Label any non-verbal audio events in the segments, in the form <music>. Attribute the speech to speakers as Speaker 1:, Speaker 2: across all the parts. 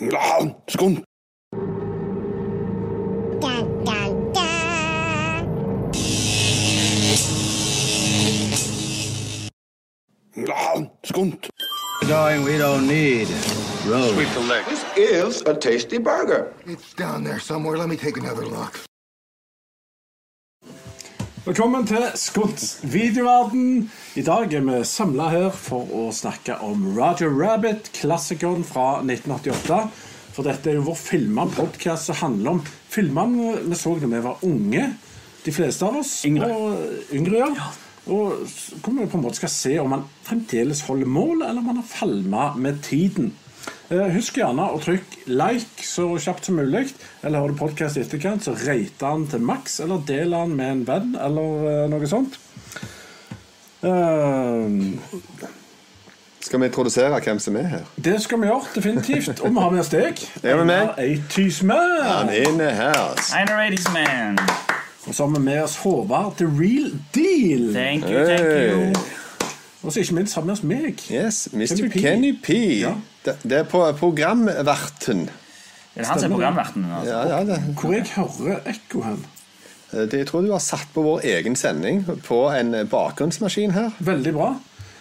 Speaker 1: Ja, skum!
Speaker 2: Da, da, da.
Speaker 1: Ja, skumt!
Speaker 3: Darling, we don't need roads.
Speaker 4: This is a tasty burger.
Speaker 5: It's down there somewhere. Let me take another look.
Speaker 6: Velkommen til Skunts videoverden. I dag er vi samla her for å snakke om Roger Rabbit, klassikeren fra 1988. For dette er jo vår filma podkast som handler om filmene vi så da vi var unge. De fleste av oss.
Speaker 7: Yngre.
Speaker 6: Og yngre ja. Og s- hvor vi på en måte skal se om han fremdeles holder mål, eller om han har falma med tiden. Eh, Husk gjerne å trykke like så kjapt som mulig. Eller har du podkast i etterkant, så rate han til maks, eller del han med en venn, eller eh, noe sånt. Eh,
Speaker 8: Skal vi introdusere hvem som er her?
Speaker 6: det skal vi gjøre, definitivt. Og vi har med oss deg.
Speaker 8: <laughs> Det har vi med.
Speaker 6: Einar Eitisme.
Speaker 8: Han er inne her. altså. ass.
Speaker 7: Einar Eidingsman.
Speaker 6: Og så har vi med oss Håvard The Real Deal.
Speaker 7: Thank you, thank you.
Speaker 6: Og så ikke minst har vi med oss meg.
Speaker 8: Yes,
Speaker 6: Kenny
Speaker 8: Mr.
Speaker 6: P.
Speaker 8: Kenny P.
Speaker 6: Ja.
Speaker 8: Det det er på programverten.
Speaker 7: Det er han som er programverten. Altså.
Speaker 8: Ja, ja, det.
Speaker 6: Hvor jeg hører ekko hen.
Speaker 8: det jeg tror du har satt på vår egen sending på en bakgrunnsmaskin her.
Speaker 6: Veldig bra.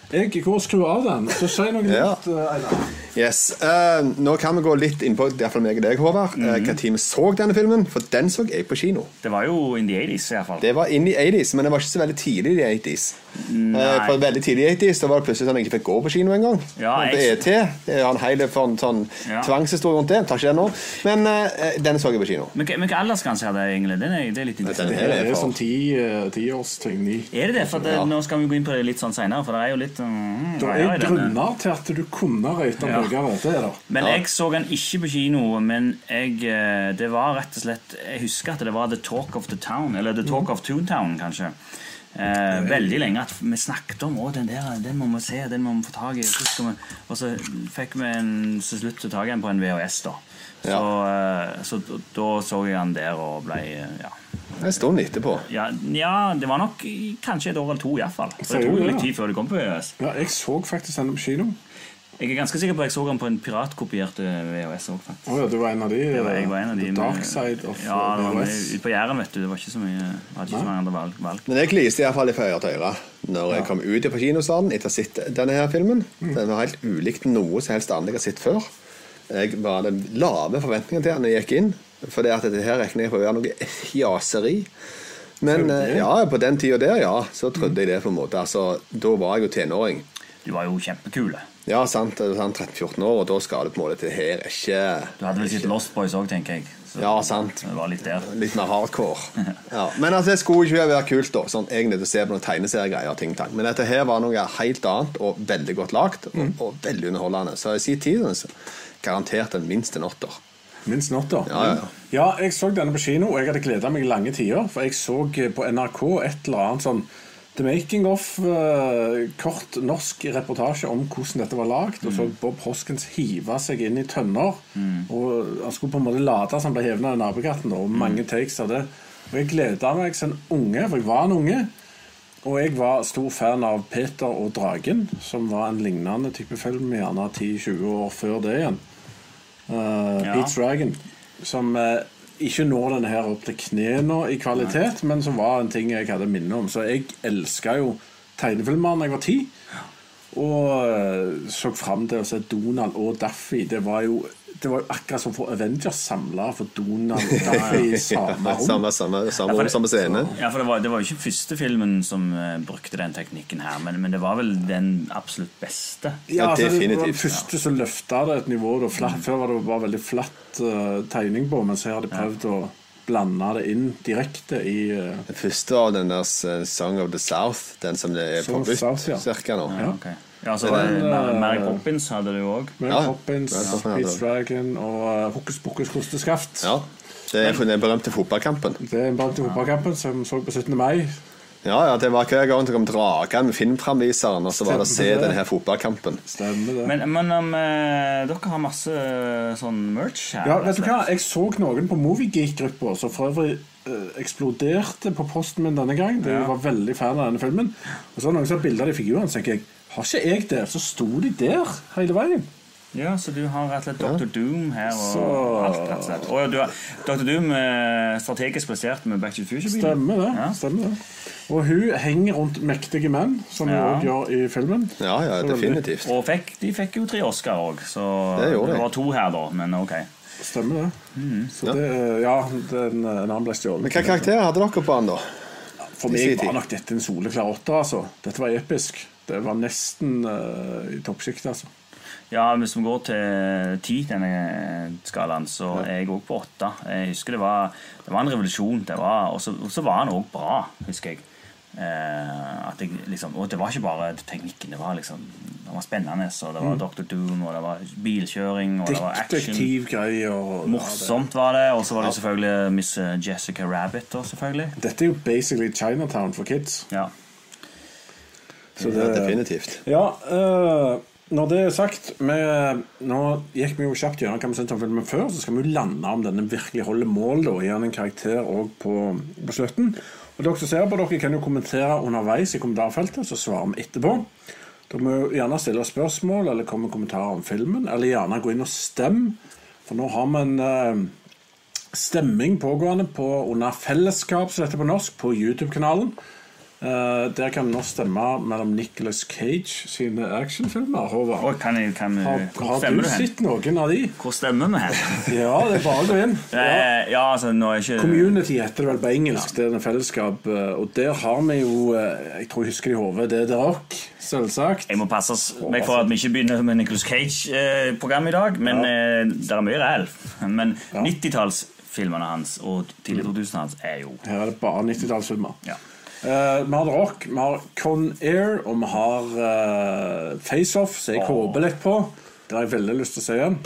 Speaker 6: Jeg går og skrur av den. Så si noe
Speaker 8: Ja.
Speaker 6: nytt, eh, Einar.
Speaker 8: Yes, eh, Nå kan vi gå litt inn på i hvert fall meg og deg, Håvard. Mm
Speaker 6: Mhm.
Speaker 8: Når vi så denne filmen? For den så jeg på kino.
Speaker 7: Det var jo in the 80s, i hvert fall.
Speaker 8: Det var inn i 80s, men det var ikke så veldig tidlig i 80s.
Speaker 7: Mm,
Speaker 8: Eh, for veldig tidlig i 80s da var det plutselig sånn at jeg ikke fikk gå på kino engang.
Speaker 7: Ja,
Speaker 8: På
Speaker 7: jeg-
Speaker 8: ET. Det er en hel sånn, sånn
Speaker 7: Ja.
Speaker 8: tvangshistorie rundt det. Tar ikke den nå. Men eh, den så jeg på kino.
Speaker 7: Men hva- men hva aldersgrense hadde jeg egentlig? Det er, det er litt
Speaker 8: Den
Speaker 7: interessant.
Speaker 6: Det
Speaker 8: her
Speaker 6: er
Speaker 8: er for
Speaker 6: sånn ti, eh, tiårsting. Ni.
Speaker 7: Er det det? For det, Nå skal vi gå inn på det litt sånn senere, for det er jo litt mm,
Speaker 6: Det
Speaker 7: greier i
Speaker 6: er
Speaker 7: denne.
Speaker 6: grunner til at du kunne røyte den
Speaker 7: Ja.
Speaker 6: høyere. Det er det.
Speaker 7: Men jeg så den ikke på kino, men jeg, eh, det var rett og slett Jeg husker at det var The Talk of the Town, eller The Talk of Toontown, kanskje. Eh, veldig lenge at vi snakket om å, den der, den må vi se, den må vi få tak i. så skal vi-" Og så fikk vi en, til slutt så tak i den på en VHS, da. Så, eh, så d- da så jeg den der og ble eh, ja.
Speaker 8: En stund etterpå.
Speaker 7: Ja, ja, det var nok i- kanskje et år eller to, iallfall. For
Speaker 6: Sier
Speaker 7: det
Speaker 6: du
Speaker 7: tok jo
Speaker 6: det,
Speaker 7: litt
Speaker 6: ja?
Speaker 7: tid før det kom på VHS.
Speaker 6: Ja, jeg så faktisk denne på kino.
Speaker 7: Jeg er ganske sikker på at jeg så den på en piratkopiert eh, VHS òg, faktisk.
Speaker 6: Å ja, du var en av de. eh,
Speaker 7: Det var, jeg var en av de
Speaker 6: The
Speaker 7: med-
Speaker 6: Dark Side of
Speaker 7: ja, det var med,
Speaker 6: VHS.
Speaker 7: ut på Jæren, vet du. Det var ikke så mye jeg hadde ikke så mange andre valg. valg.
Speaker 8: Men jeg gliste iallfall fra øre til øre når jeg kom ut på kinosalen etter å ha sett denne her filmen. Den var helt ulikt noe som helst annet jeg har sett før. Jeg var den lave forventningen til den når jeg gikk inn. For det at dette her regner jeg for å være noe jaseri. Men eh, ja, på den tida der, ja, så trodde jeg det på en måte. Altså, da var jeg jo tenåring.
Speaker 7: Du var jo kjempekule.
Speaker 8: Ja, sant, jeg var sånn 13-14 år, og da skal det på en måte til her er ikke
Speaker 7: Du hadde vel sett Lost Boys òg, tenker jeg. Så
Speaker 8: Ja, sant.
Speaker 7: det var litt der.
Speaker 8: Litt mer
Speaker 7: <laughs>
Speaker 8: hardcore. Ja. Men altså, det skulle ikke være kult, da. Sånn, egentlig å se på noen tegneseriegreier. og ting og tang. Men dette her var noe helt annet, og veldig godt lagt,
Speaker 7: Mm.
Speaker 8: og, og veldig underholdende. Så i sin tid så garantert den minste en åtter.
Speaker 6: Minst not, da.
Speaker 8: Ja, ja, ja.
Speaker 6: Ja, jeg så denne på kino, og jeg hadde gleda meg i lange tider. For jeg så eh, på NRK et eller annet sånn The Making of eh, kort norsk reportasje om hvordan dette var lagd. Og
Speaker 8: Mm.
Speaker 6: så Bob Hoskins hive seg inn i tønner. Og han skulle på en måte late som han ble hevet av nabokatten, og
Speaker 8: Mm.
Speaker 6: mange takes av det. Og jeg gleda meg som en unge, for jeg var en unge. Og jeg var stor fan av Peter og Dragen, som var en lignende type film, gjerne 10-20 år før det igjen. Uh,
Speaker 7: Ja.
Speaker 6: Pete Dragon, som eh, ikke når denne her opp til knærne i kvalitet, men som var en ting jeg hadde minne om. Så jeg elska jo tegnefilmer da jeg var ti. Og eh, så fram til å se Donald og Daffy. Det var jo, det var jo akkurat som for Avengers samla for Donald og Daffy i
Speaker 8: <laughs>
Speaker 6: samme rom.
Speaker 8: Samme, samme, samme
Speaker 7: for
Speaker 8: rom,
Speaker 7: det-
Speaker 8: samme scene.
Speaker 7: Ja, for det var, det var jo ikke første filmen som eh, brukte den teknikken her, men, men det var vel den absolutt beste.
Speaker 8: Ja,
Speaker 6: Ja, altså, det var den
Speaker 8: definitivt, ja.
Speaker 6: første som løfta det et nivå. Da, flatt, Før var det bare veldig flatt eh, tegning på, mens her har de prøvd å blande det inn direkte i eh,
Speaker 8: Den første av den der eh, Song of the South, den som det er
Speaker 6: Song of
Speaker 8: forbudt
Speaker 6: South, ja. eh,
Speaker 8: cirka nå.
Speaker 7: Ja, ok. ja altså, det, Mar- Mary Poppins hadde du òg.
Speaker 6: Mary
Speaker 8: Ja,
Speaker 6: Poppins,
Speaker 8: Mary Poppins, ja.
Speaker 6: Pete's Dragon og eh, Hokus pokus kosteskaft.
Speaker 8: Ja. Det er den berømte fotballkampen.
Speaker 6: Det er en band til fotballkampen som så på 17. mai.
Speaker 8: Ja, ja, Det var hver gang det kom drager med filmframviseren, og så var det å se
Speaker 6: Stemmer det.
Speaker 8: denne her fotballkampen.
Speaker 6: Stemmer det.
Speaker 7: Men, men om, eh, dere har masse eh, sånn merch her.
Speaker 6: Ja,
Speaker 7: rett og
Speaker 6: vet du
Speaker 7: slett.
Speaker 6: hva? Jeg så noen på Moviegeek-gruppa som for øvrig eh, eksploderte på posten min denne gang. De var veldig fan av denne filmen. Og så var det noen som har bilder av de figurene, så tenker jeg har ikke jeg det? Så sto de der hele veien.
Speaker 7: Ja, så du har rett og slett Dr. Doom her og
Speaker 6: Så-
Speaker 7: alt, rett og slett. Og du har Dr. Doom eh, strategisk plassert med Back to the Future-bilen.
Speaker 6: Stemmer det.
Speaker 7: Ja.
Speaker 6: stemmer det Og hun henger rundt mektige menn, som hun
Speaker 7: Ja.
Speaker 6: også gjør i filmen.
Speaker 8: Ja, ja,
Speaker 6: Så veldig-
Speaker 8: definitivt.
Speaker 7: Og fikk, de fikk jo tre Oscar òg, så
Speaker 8: Det gjorde de.
Speaker 7: var to her, da. Men ok.
Speaker 6: Stemmer det.
Speaker 7: Mm.
Speaker 6: Så det er- ja, den, en annen ble
Speaker 8: Men
Speaker 6: stjålet.
Speaker 8: hva karakter hadde dere på han, da?
Speaker 6: For
Speaker 8: i sin
Speaker 6: meg
Speaker 8: tid?
Speaker 6: var nok dette en soleklar åtter. Altså. Dette var episk. Det var nesten eh, i toppsjiktet, altså.
Speaker 7: Ja, Hvis vi går til ti, denne skalaen, så er jeg òg på åtte. Jeg husker det var, det var en revolusjon. Det var, og, så, og så var han òg bra, husker jeg. Eh, at jeg liksom, og det var ikke bare teknikken. Det var liksom Det var spennende. Og det var Dr. Doom, og det var bilkjøring, og det var action.
Speaker 6: Detektivgreier. og-
Speaker 7: Morsomt var det. Og så var det selvfølgelig Miss eh, Jessica Rabbit. da, selvfølgelig.
Speaker 6: Ja, det- Dette er jo basically Chinatown for kids.
Speaker 7: Ja.
Speaker 6: Så
Speaker 8: Ja,
Speaker 6: det,
Speaker 8: definitivt.
Speaker 6: Ja, eh, når det er sagt vi, Nå gikk vi jo kjapt gjennom hva vi syntes om filmen før, så skal vi jo lande om denne virkelig holder mål da, og gi den en karakter òg på, på slutten. Og Dere som ser på, dere kan jo kommentere underveis i kommentarfeltet, så svarer vi etterpå. Dere må jo gjerne stille spørsmål eller komme med kommentarer om filmen, eller gjerne gå inn og stemme. For nå har vi en eh, stemming pågående på, under fellesskap, som det heter på norsk, på YouTube-kanalen. Eh, der kan vi nå stemme mellom Nicolas Cage sine actionfilmer. Håvard.
Speaker 7: Og kan jeg, kan,
Speaker 6: Har,
Speaker 7: hvor
Speaker 6: har
Speaker 7: stemmer
Speaker 6: du
Speaker 7: du hen?
Speaker 6: sett noen av de?
Speaker 7: Hvor stemmer
Speaker 6: <laughs>
Speaker 7: vi hen?
Speaker 6: Ja, det er bare å gå inn. <laughs> Ja.
Speaker 7: Eh, ja, altså, nå er ikke
Speaker 6: Community heter det vel på engelsk. Det er en fellesskap. eh, Og der har vi jo eh, Jeg tror jeg husker det i hodet. Det er The Rock, selvsagt.
Speaker 7: Jeg må passe oss- meg
Speaker 6: altså.
Speaker 7: for at vi ikke begynner med Nicolas Cage-program i dag, men eh, det er mye reell. Men 90-tallsfilmene hans og tidlig
Speaker 6: Mm.
Speaker 7: 2000 hans er jo
Speaker 6: Her er det bare 90-tallsfilmer.
Speaker 7: Ja.
Speaker 6: Eh, vi har The Rock, vi har Con Air, og vi har eh, Face Off, som jeg håper litt på. Det har jeg veldig lyst til å se igjen.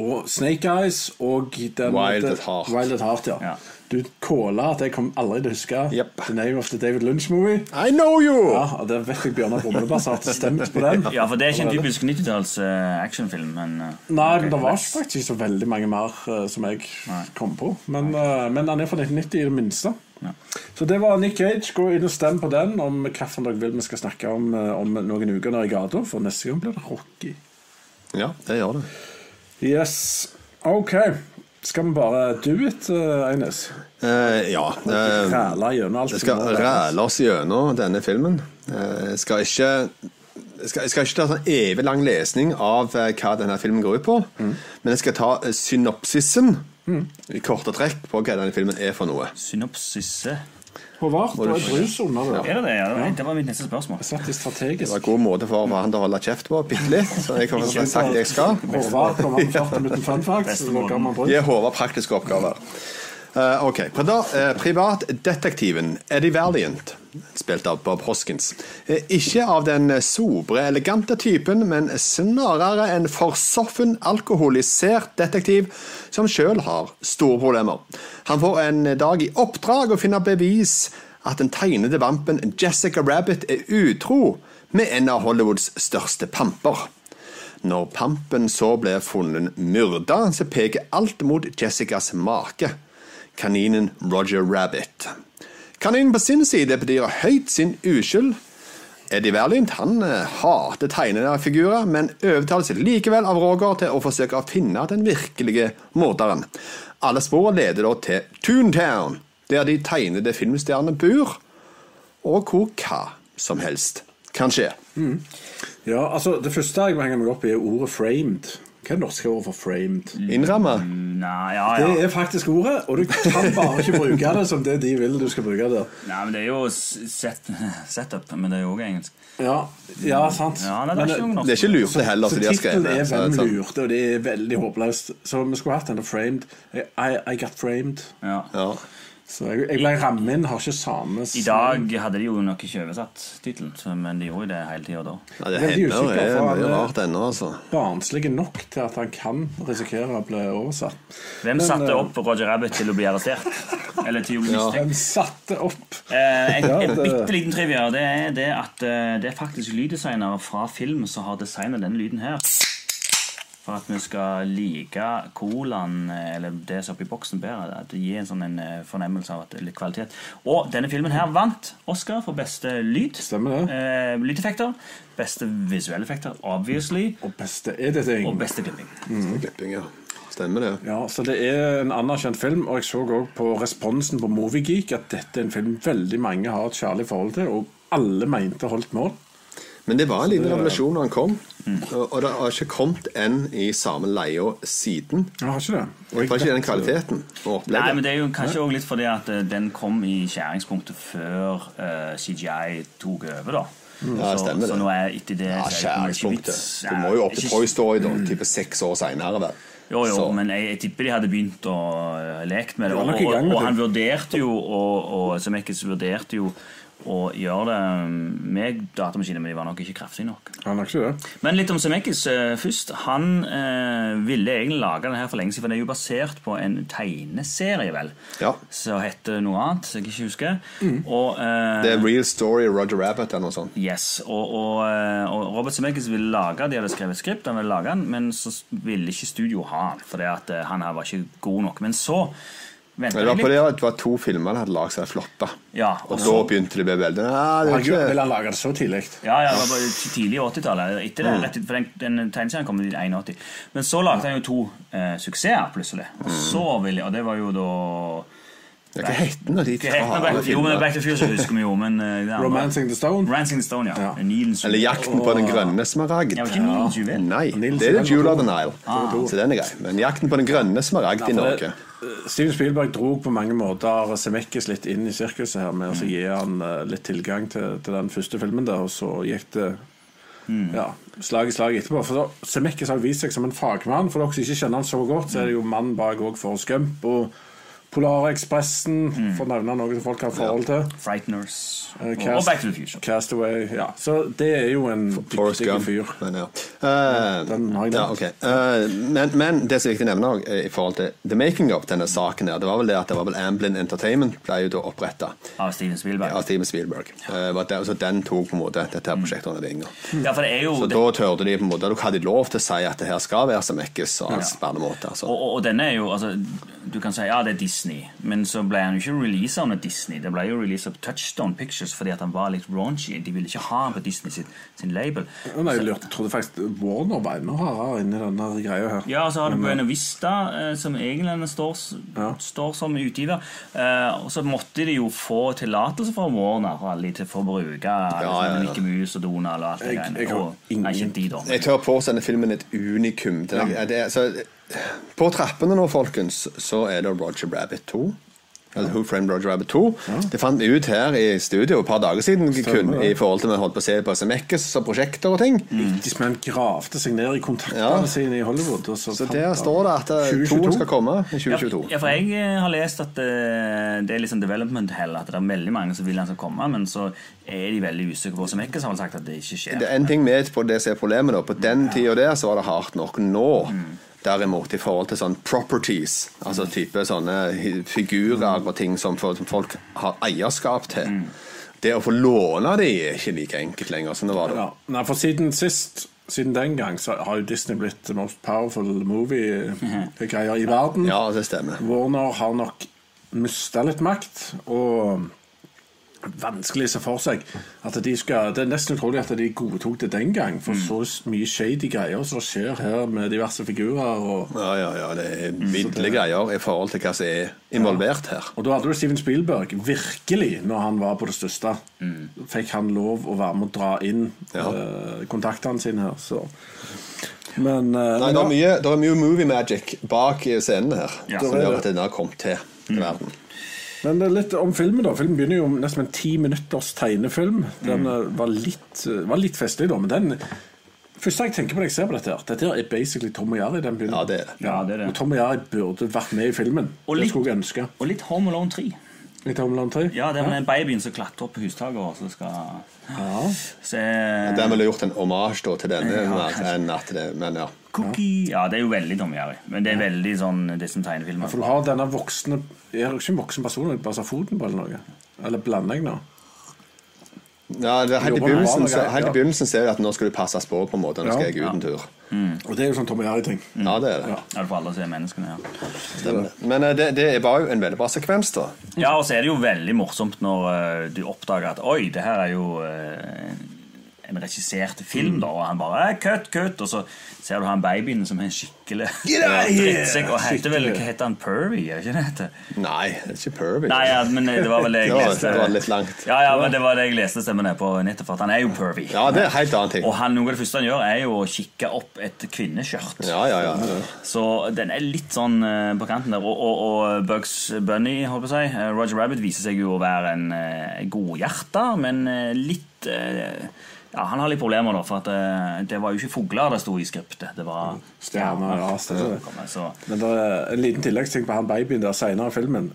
Speaker 6: Og Snake Eyes og den,
Speaker 8: Wild
Speaker 6: den-
Speaker 8: at Heart.
Speaker 6: Wild at Heart ja.
Speaker 7: Ja.
Speaker 6: Du kåla at jeg kommer aldri til å huske
Speaker 8: Jepp.
Speaker 6: The Name of the David Lunch-movie.
Speaker 8: I know you!
Speaker 6: Ja, og det vet jeg Bjørnar Brumlebass har stemt på
Speaker 8: <laughs>
Speaker 6: den.
Speaker 7: Ja, for det er ikke en typisk 90-talls eh, actionfilm, men eh,
Speaker 6: Sånn Nei,
Speaker 7: ok,
Speaker 6: men det var
Speaker 7: let's-
Speaker 6: faktisk ikke så veldig mange mer eh, som jeg kom på. Men, eh, men han er fra 1990 i det minste.
Speaker 7: Ja.
Speaker 6: Så det var Nick Cage. Gå inn og stem på den om hvilken dere vil vi skal snakke om eh, om noen uker nede i gata, for neste gang blir det Rocky.
Speaker 8: Ja, det gjør det.
Speaker 6: Yes. OK. Skal vi bare do it, eh, Eines?
Speaker 8: Eh, ja. eh,
Speaker 6: Ræle gjennom alt.
Speaker 8: Jeg skal
Speaker 6: som må være.
Speaker 8: ræle oss gjennom denne filmen. Eh, Jeg skal ikke jeg skal, jeg skal ikke ta sånn evig lang lesning av eh, hva denne filmen går ut på, men jeg skal ta eh, synopsisen i korte trekk på hva denne filmen er for noe.
Speaker 7: Synopsisse.
Speaker 6: Håvard, det var
Speaker 8: du-
Speaker 6: brus under det.
Speaker 7: eh. Er det det? Ja, det var mitt neste spørsmål.
Speaker 6: Jeg satt i
Speaker 8: Det var en
Speaker 6: strategisk.
Speaker 8: god måte for han til å holde kjeft på, bitte litt. Så jeg kommer til å få sagt det jeg skal.
Speaker 6: Håvard
Speaker 8: <laughs>
Speaker 6: kom an først med en fun fact. så da kan man brus.
Speaker 8: Gi Håvard praktiske oppgaver. Eh, ok, Prida- eh, Privatdetektiven Eddie Valiant, spilt av Bob Hoskins, er ikke av den sobre, elegante typen, men snarere en forsoffen, alkoholisert detektiv som sjøl har store problemer. Han får en dag i oppdrag å finne bevis at den tegnede vampen Jessica Rabbit er utro med en av Hollywoods største pamper. Når pampen så ble funnet myrda, så peker alt mot Jessicas make, kaninen Roger Rabbit. Kaninen på sin side bedyrer høyt sin uskyld. Eddie Valiant han eh, hater tegnede figurer, men overtales likevel av Roger til å forsøke å finne den virkelige morderen. Alle spor leder da til Toontown, der de tegnede filmstjernene bor, og hvor hva som helst kan skje.
Speaker 6: Ja, altså, det første jeg må henge meg opp i, er ordet 'framed'. Hva er det norske ordet for 'framed'?
Speaker 8: Innramma.
Speaker 7: Nei, ja, ja.
Speaker 6: Det er faktisk ordet, og du kan bare ikke bruke det som det de vil du skal bruke det.
Speaker 7: Nei, men det er jo s- set, <laughs> setup, men det er jo også engelsk.
Speaker 6: Ja, ja sant.
Speaker 7: Ja, nei, det
Speaker 6: Men, eh,
Speaker 7: er ikke noe
Speaker 8: Det er
Speaker 7: norsk.
Speaker 8: ikke lurt det heller,
Speaker 6: så
Speaker 8: som de har
Speaker 6: tittelen
Speaker 8: skrevet.
Speaker 6: er
Speaker 8: så det
Speaker 6: 'Hvem
Speaker 8: er sånn-
Speaker 6: lurte', og det er veldig håpløst. Så vi skulle hatt denne 'framed'. I, I got framed.
Speaker 7: Ja.
Speaker 8: Ja.
Speaker 6: Så jeg, jeg ble rammet inn, har ikke samme
Speaker 7: I dag hadde de jo nok ikke oversatt tittelen, så- men de gjorde jo det hele tida da.
Speaker 8: Ja, det
Speaker 6: Veldig
Speaker 8: hender jo
Speaker 6: usikker,
Speaker 8: er
Speaker 6: for han
Speaker 8: mye
Speaker 6: er-
Speaker 7: eh,
Speaker 8: rart ennå, altså.
Speaker 6: Barnslige nok til at han kan risikere å bli oversatt.
Speaker 7: Hvem satte opp Roger Rabbit til å bli arrestert? Eller til å bli mistenkt?
Speaker 6: Hvem satte opp?
Speaker 7: Eh, En,
Speaker 6: Ja,
Speaker 7: en
Speaker 6: det-
Speaker 7: bitte liten trivia det er det at eh, det er faktisk lyddesignere fra film som har designet denne lyden her. For at vi skal like colaen, eh, eller det som er oppi boksen, bedre. At det gir en sånn en eh, fornemmelse av at det er litt kvalitet. Og denne filmen her vant Oscar for beste lyd.
Speaker 6: Stemmer det.
Speaker 7: Eh, lydeffekter. Beste visuelle effekter, obviously.
Speaker 6: Og beste editing.
Speaker 7: Og beste klipping.
Speaker 8: Klipping, ja. Stemmer det.
Speaker 6: Ja, så Det er en anerkjent film, og jeg så også på responsen på Moviegeek at dette er en film veldig mange har et kjærlig forhold til, og alle mente holdt mål.
Speaker 8: Men det var en liten revolusjon når han kom,
Speaker 7: Mm.
Speaker 8: og, og det har ikke kommet en i samme leia siden.
Speaker 6: Jeg har ikke det. Og
Speaker 8: Det
Speaker 6: jeg
Speaker 8: var ikke
Speaker 6: vet-
Speaker 8: den kvaliteten og
Speaker 7: Nei,
Speaker 8: opplegget.
Speaker 7: men det er jo kanskje også litt fordi at eh, den kom i skjæringspunktet før eh, CGI tok over, da.
Speaker 8: Mm. Ja,
Speaker 7: så,
Speaker 8: stemmer det.
Speaker 7: så nå er etter det
Speaker 8: Ja,
Speaker 7: så er det ikke mye
Speaker 8: Skjæringspunktet.
Speaker 7: vits.
Speaker 8: Du må jo opp til
Speaker 7: Ikke- Mm.
Speaker 8: Toy Story da, type seks år seinere.
Speaker 7: Jo, jo, men jeg, jeg tipper de hadde begynt å eh, lekt med det.
Speaker 6: var
Speaker 7: Og,
Speaker 6: nok i
Speaker 7: og,
Speaker 6: gang med
Speaker 7: og
Speaker 6: det.
Speaker 7: han vurderte jo, og, og Zemeckis vurderte jo å gjøre det mm, med datamaskiner, men de var nok ikke kraftige nok.
Speaker 6: Han har ikke det.
Speaker 7: Men litt om Zemeckis eh, først. Han eh, ville egentlig lage den her for lenge siden, for den er jo basert på en tegneserie, vel,
Speaker 8: Ja. Mm.
Speaker 7: som heter noe annet, som jeg ikke husker. Og, eh,
Speaker 8: Det er Real Story Roger Rabbit eller noe sånt.
Speaker 7: Yes, og, og, eh, og Robert Zemeckis ville lage De hadde skrevet skript, han ville lage den Men så ville ikke studio ha den Fordi at eh, han her var ikke god nok Men så ventet
Speaker 8: Det var
Speaker 7: jeg
Speaker 8: på det
Speaker 7: litt
Speaker 8: at det var to filmer de hadde lagd seg floppa.
Speaker 7: Ja,
Speaker 8: Og
Speaker 7: og
Speaker 8: da
Speaker 7: så-
Speaker 8: begynte det å bli veldig Nei, det er
Speaker 6: Herregud,
Speaker 8: ikke
Speaker 6: Vil han lage det så tidlig?
Speaker 7: ja, Mm. ja, det var bare ti- tidlig i 80-tallet Etter det, rett, ut- for den, den tegneserien kom i 81 Men så lagde han jo to eh, suksesser plutselig Og så ville, og det var jo da
Speaker 8: Ja, Hva het den? da, De
Speaker 7: Hva heter den?
Speaker 8: fæle
Speaker 7: Back- Jo, men
Speaker 8: filmene?
Speaker 7: Back to the Future husker vi jo men, eh, det andre-
Speaker 6: Romancing the Stone.
Speaker 7: Romancing the Stone, ja,
Speaker 6: Ja.
Speaker 7: Nilens-
Speaker 8: Eller Jakten på den grønne smaragd.
Speaker 7: Ja, var ikke Nilens juvel
Speaker 8: Nei,
Speaker 6: Nils
Speaker 8: det er The
Speaker 6: Helmer
Speaker 8: Jewel of
Speaker 6: to.
Speaker 8: the Nile. Så den er grei. Men Jakten på den grønne smaragd i
Speaker 6: For
Speaker 8: Norge.
Speaker 6: det- eh, Steven Spielberg dro på mange måter Zemeckis litt inn i sirkuset her med å så
Speaker 7: Mm.
Speaker 6: gi han eh, litt tilgang til, til den første filmen der, og så gikk det
Speaker 7: Mm.
Speaker 6: ja, slag i slag etterpå. For da- Zemeckis har vist seg som en fagmann. For dere som ikke kjenner han så godt, så er det
Speaker 7: Mm.
Speaker 6: jo mannen bak òg for Scump og Polarekspressen, for å nevne noe som folk har forhold til.
Speaker 7: Frighteners Mm.
Speaker 6: Eh,
Speaker 7: og, og
Speaker 6: Cast-
Speaker 7: Back to the Future
Speaker 6: Castaway. Ja. Så det er jo en
Speaker 8: Forrest
Speaker 6: dyktig
Speaker 8: Gump.
Speaker 6: fyr.
Speaker 8: Men, ja. Eh,
Speaker 6: den har jeg
Speaker 8: ja,
Speaker 6: nevnt.
Speaker 8: ok. Eh, men, men det som er viktig å nevne også, eh, i forhold til the making of denne saken, her, det var vel det at det var vel Amblin Entertainment ble jo da oppretta
Speaker 7: Av Steven Spielberg
Speaker 8: av Steven Spielberg. Eh, var det, så den tok på en måte dette her prosjektet under vinga.
Speaker 7: Ja, for det er jo
Speaker 8: Så
Speaker 7: det-
Speaker 8: da tørde de på en måte, da hadde de lov til å si at det her skal være Zemeckis og hans bandemåte. Altså.
Speaker 7: Og, og, og denne er jo, altså Du kan si ja, det er Disney, men så ble han jo ikke releasa under Disney. Det ble jo releasa på Touchstone Pictures fordi at han var litt raunchy. De ville ikke ha han på Disney sitt, sin label.
Speaker 6: Ja, Nei, jeg lurte, trodde faktisk Warner var enda hardere inni denne greia her.
Speaker 7: Ja, så har du Buena Vista, eh, som egentlig står, s-
Speaker 6: Ja.
Speaker 7: står som utgiver. Eh, og så måtte de jo få tillatelse fra Warner og alle de til for å bruke
Speaker 8: ja, ja.
Speaker 7: liksom, Mickey Mouse og Donald og alt det
Speaker 6: Jeg-
Speaker 7: greiene.
Speaker 6: jeg har
Speaker 7: Og-
Speaker 6: ingen-
Speaker 7: Nei, ikke de, da. men-
Speaker 8: Jeg tør påsende filmen et unikum. Det, er- det, er- så, på trappene nå, folkens, så er det Roger Rabbit 2. Eller Who Framed Roger Rabbit 2. Det fant vi ut her i studio et par dager siden kun, i forhold til vi holdt på å se på Zemeckis og prosjekter og ting.
Speaker 6: De som han gravde seg ned i kontaktene
Speaker 8: Ja.
Speaker 6: sine i Hollywood. Og så
Speaker 8: Så
Speaker 6: fant
Speaker 8: der
Speaker 6: han-
Speaker 8: står det at eh,
Speaker 6: 2022.
Speaker 8: toen skal komme i 2022.
Speaker 7: Ja, for jeg eh, har lest at eh, det er liksom development hell, at det er veldig mange som vil han skal komme, men så er de veldig usikre på som Eckes har vel sagt at det ikke skjer.
Speaker 8: Det er en ting med på det som er problemet. da På den tida der så var det hardt nok. Nå, derimot, i forhold til sånn properties, altså type sånne hi- figurer og ting som, for, som folk har eierskap til Det å få låne de er ikke like enkelt lenger som det var da.
Speaker 6: Ja. Nei, for siden sist, siden den gang, så har jo Disney blitt the most powerful movie-greier i verden.
Speaker 8: Ja, det stemmer.
Speaker 6: Warner har nok mista litt makt, og vanskelig å se for seg at de skal Det er nesten utrolig at de godtok det den gang, for
Speaker 8: Mm.
Speaker 6: så mye shady greier som skjer her med diverse figurer og
Speaker 8: Ja, ja, ja, det er ville greier i forhold til hva som er involvert her.
Speaker 6: Og da hadde du Steven Spielberg virkelig, når han var på det største, fikk han lov å være med å dra inn
Speaker 8: Mm. Ja.
Speaker 6: eh, kontaktene sine her, så Men eh,
Speaker 8: Nei, det er mye, det er mye movie magic bak i scenen her
Speaker 7: Ja. Mm.
Speaker 8: som gjør at den har kommet til i verden.
Speaker 6: Men det er litt om filmen, da. Filmen begynner jo med nesten en ti minutters tegnefilm. Den
Speaker 8: Mm.
Speaker 6: eh, var litt, eh, var litt festlig, da, men den Første jeg tenker på når jeg ser på dette her Dette her er basically Tom og Jerry. Den begynner.
Speaker 8: Ja, det er det.
Speaker 7: Ja, det er det.
Speaker 6: Og Tom og Jerry burde vært med i filmen.
Speaker 7: Og
Speaker 6: det
Speaker 7: litt-
Speaker 6: skulle jeg ønske.
Speaker 7: Og litt Home Alone 3.
Speaker 6: I Tom Land 3.
Speaker 7: Ja, det er den babyen som klatrer opp på hustaket og så skal eh, se
Speaker 8: Der ville gjort en omasj da, til denne,
Speaker 7: Ja,
Speaker 8: mer
Speaker 7: kanskje.
Speaker 8: enn at det, men ja.
Speaker 7: Cookie. Ja, det er jo veldig Tom Jerry, men det er veldig sånn det er som tegnefilmer.
Speaker 6: For du har denne voksne Er du ikke en voksen person og bare ser foten på eller noe? Eller blander jeg nå?
Speaker 8: Ja, det, helt, i
Speaker 6: Jo, men det var
Speaker 8: begynnelsen,
Speaker 6: noe
Speaker 8: så,
Speaker 6: greit,
Speaker 8: helt
Speaker 6: ja.
Speaker 8: i begynnelsen ser jeg at nå skal du passes på, på en måte. Nå
Speaker 6: Ja.
Speaker 8: skal jeg ut en tur.
Speaker 6: Og det er jo sånn Tom og Jerry-ting.
Speaker 8: Ja, det er det.
Speaker 7: Ja, for alle som er menneskene, ja.
Speaker 8: Stemmer det. Men eh, det, det var jo en veldig bra sekvens, da.
Speaker 7: Ja, og så er det jo veldig morsomt når eh, du oppdager at Oi, det her er jo eh, en regissert film, da. Og han bare eh, Kutt, kutt! Og så ser du han babyen som er en skikkelig eh,
Speaker 6: Get out of here!
Speaker 7: drittsekk. Og heter vel, hva heter han? Pervy? Er ikke det heter?
Speaker 8: Nei, det er ikke pervy.
Speaker 7: Nei, ja, men eh, det var vel det jeg
Speaker 8: Det var-
Speaker 7: leste.
Speaker 8: det var litt langt.
Speaker 7: Ja, ja, men det var det jeg leste stemmen her på nettet, for at han er jo pervy.
Speaker 8: Ja, det er en helt annen ting.
Speaker 7: Og han, noe av det første han gjør, er jo å kikke opp et kvinneskjørt.
Speaker 8: Ja, ja, ja.
Speaker 7: Så den er litt sånn eh, på kanten der. Og, og, og Bugs Bunny, holdt på å si, eh, Roger Rabbit viser seg jo å være en eh, godhjerta, men eh, litt eh, Ja, han har litt problemer, da, for at eh, det var jo ikke fugler det sto i skriptet. Det var
Speaker 6: Stjerner, ja, stemmer det.
Speaker 7: Kommer, så-
Speaker 6: Men det er en liten tilleggsting på han babyen der senere i filmen.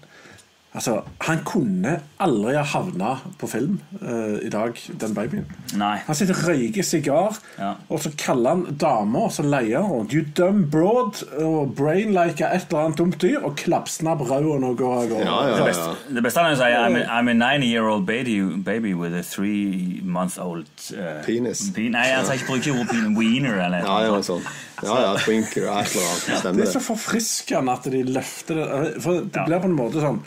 Speaker 6: Altså, Han kunne aldri ha havna på film eh, i dag, den babyen.
Speaker 7: Nei.
Speaker 6: Han sitter og røyker sigar,
Speaker 7: Ja.
Speaker 6: og så kaller han damer som leier han rundt. You dumb broad og brainlike et eller annet dumt dyr, og klapsnapp røden og går av gårde.
Speaker 8: Ja, ja, ja.
Speaker 7: Det beste han sier, I'm, a- I'm a 90-year-old baby, baby with a three-month-old eh,
Speaker 8: Penis.
Speaker 7: pin- Nei, han sier ikke bruker ikke ordet pin- wiener eller
Speaker 8: Ja,
Speaker 7: noe
Speaker 8: ja,
Speaker 7: sånt.
Speaker 8: sånn. ja, ja twink og et eller annet.
Speaker 6: Det
Speaker 8: Stemmer
Speaker 6: er så
Speaker 8: det.
Speaker 6: forfriskende at de løfter det Eh, For det
Speaker 7: Ja.
Speaker 6: blir på en måte sånn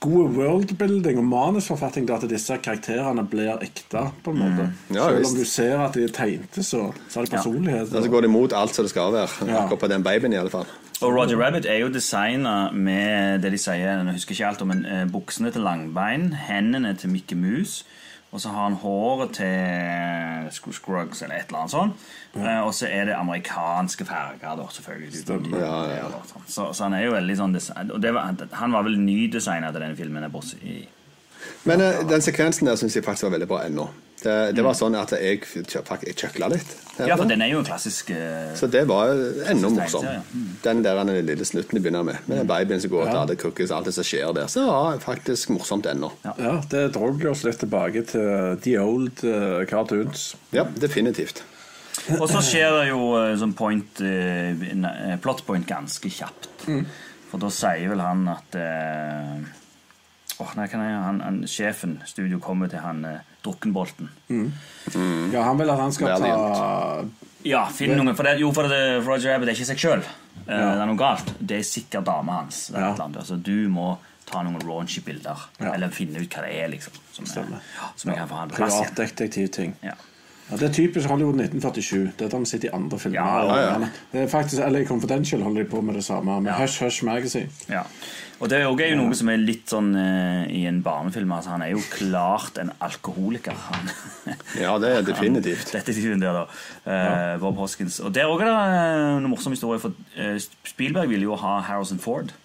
Speaker 6: God worldbuilding og manusforfatting der at disse karakterene blir ekte. på en måte
Speaker 8: Mm. Ja,
Speaker 6: Selv
Speaker 8: visst.
Speaker 6: om du ser at de er tegnte, så, så er det personlighet.
Speaker 8: Og så går det imot alt som det skal være.
Speaker 6: Ja.
Speaker 8: Akkurat på den babyen, i alle fall.
Speaker 7: Og Roger Rabbit er jo designa med det de sier Jeg husker ikke alt om men, eh, buksene til Langbein, hendene til Mikke Mus, og så har han håret til Scroo- Scruggs eller et eller annet sånt. Eh, Og så er det amerikanske farger, da, selvfølgelig.
Speaker 8: Ja, ja, ja.
Speaker 7: Så, så han er jo veldig sånn design, Og det var, han var vel nydesigner til denne filmen. jeg bare si-
Speaker 8: Men eh, den sekvensen der syns jeg faktisk var veldig bra ennå. Det, det var sånn at jeg kjø- faktisk jeg kjøkla litt.
Speaker 7: Mm. Ja, for den er jo en klassisk eh,
Speaker 8: Så det var enda morsomt.
Speaker 7: tegneserie,
Speaker 8: Den der den lille snutten de begynner med, med den babyen som går til alle cookies, alt det som skjer der, så var det faktisk morsomt ennå.
Speaker 6: Ja, Det drog oss litt tilbake til the old eh, cartoons.
Speaker 8: Ja, definitivt.
Speaker 7: Og så skjer det jo eh, sånn point, eh, ne- eh, plot point ganske kjapt.
Speaker 6: Mm.
Speaker 7: For da sier vel han at eh, åh, nei, hva er det? han, han, Sjefen, studio, kommer til han eh, drukkenbolten.
Speaker 6: Mm.
Speaker 8: Mm.
Speaker 6: Ja, Han vil at han skal ta
Speaker 7: Ja, finn noen For det, jo, for det, for Roger Rabbit er ikke seg sjøl. Det er noe galt. Det er sikkert dama hans. eller
Speaker 6: Ja.
Speaker 7: et eller annet. Altså, du må ta noen raunchy bilder.
Speaker 6: Ja.
Speaker 7: Eller finne ut hva det er, liksom. Som, er,
Speaker 6: Stemmer.
Speaker 7: ja, som jeg kan få han på plass igjen.
Speaker 6: privatdetektivting.
Speaker 7: Ja.
Speaker 6: Ja, det er typisk Hollywood 1947. Det er de sitter i andre filmer.
Speaker 7: Ja,
Speaker 8: ja, ja.
Speaker 6: Det er faktisk LA Confidential holder de på med det samme. Med Hush Hush Magazine.
Speaker 7: Ja. Og det er jo også noe som er litt sånn eh, i en barnefilm. Altså, han er jo klart en alkoholiker. Han.
Speaker 8: Ja, det er definitivt.
Speaker 7: Han, detektiven der, da. Eh, Bob Hoskins. Og der òg er det eh, en morsom historie, for eh, Spielberg ville jo ha Harrison Ford.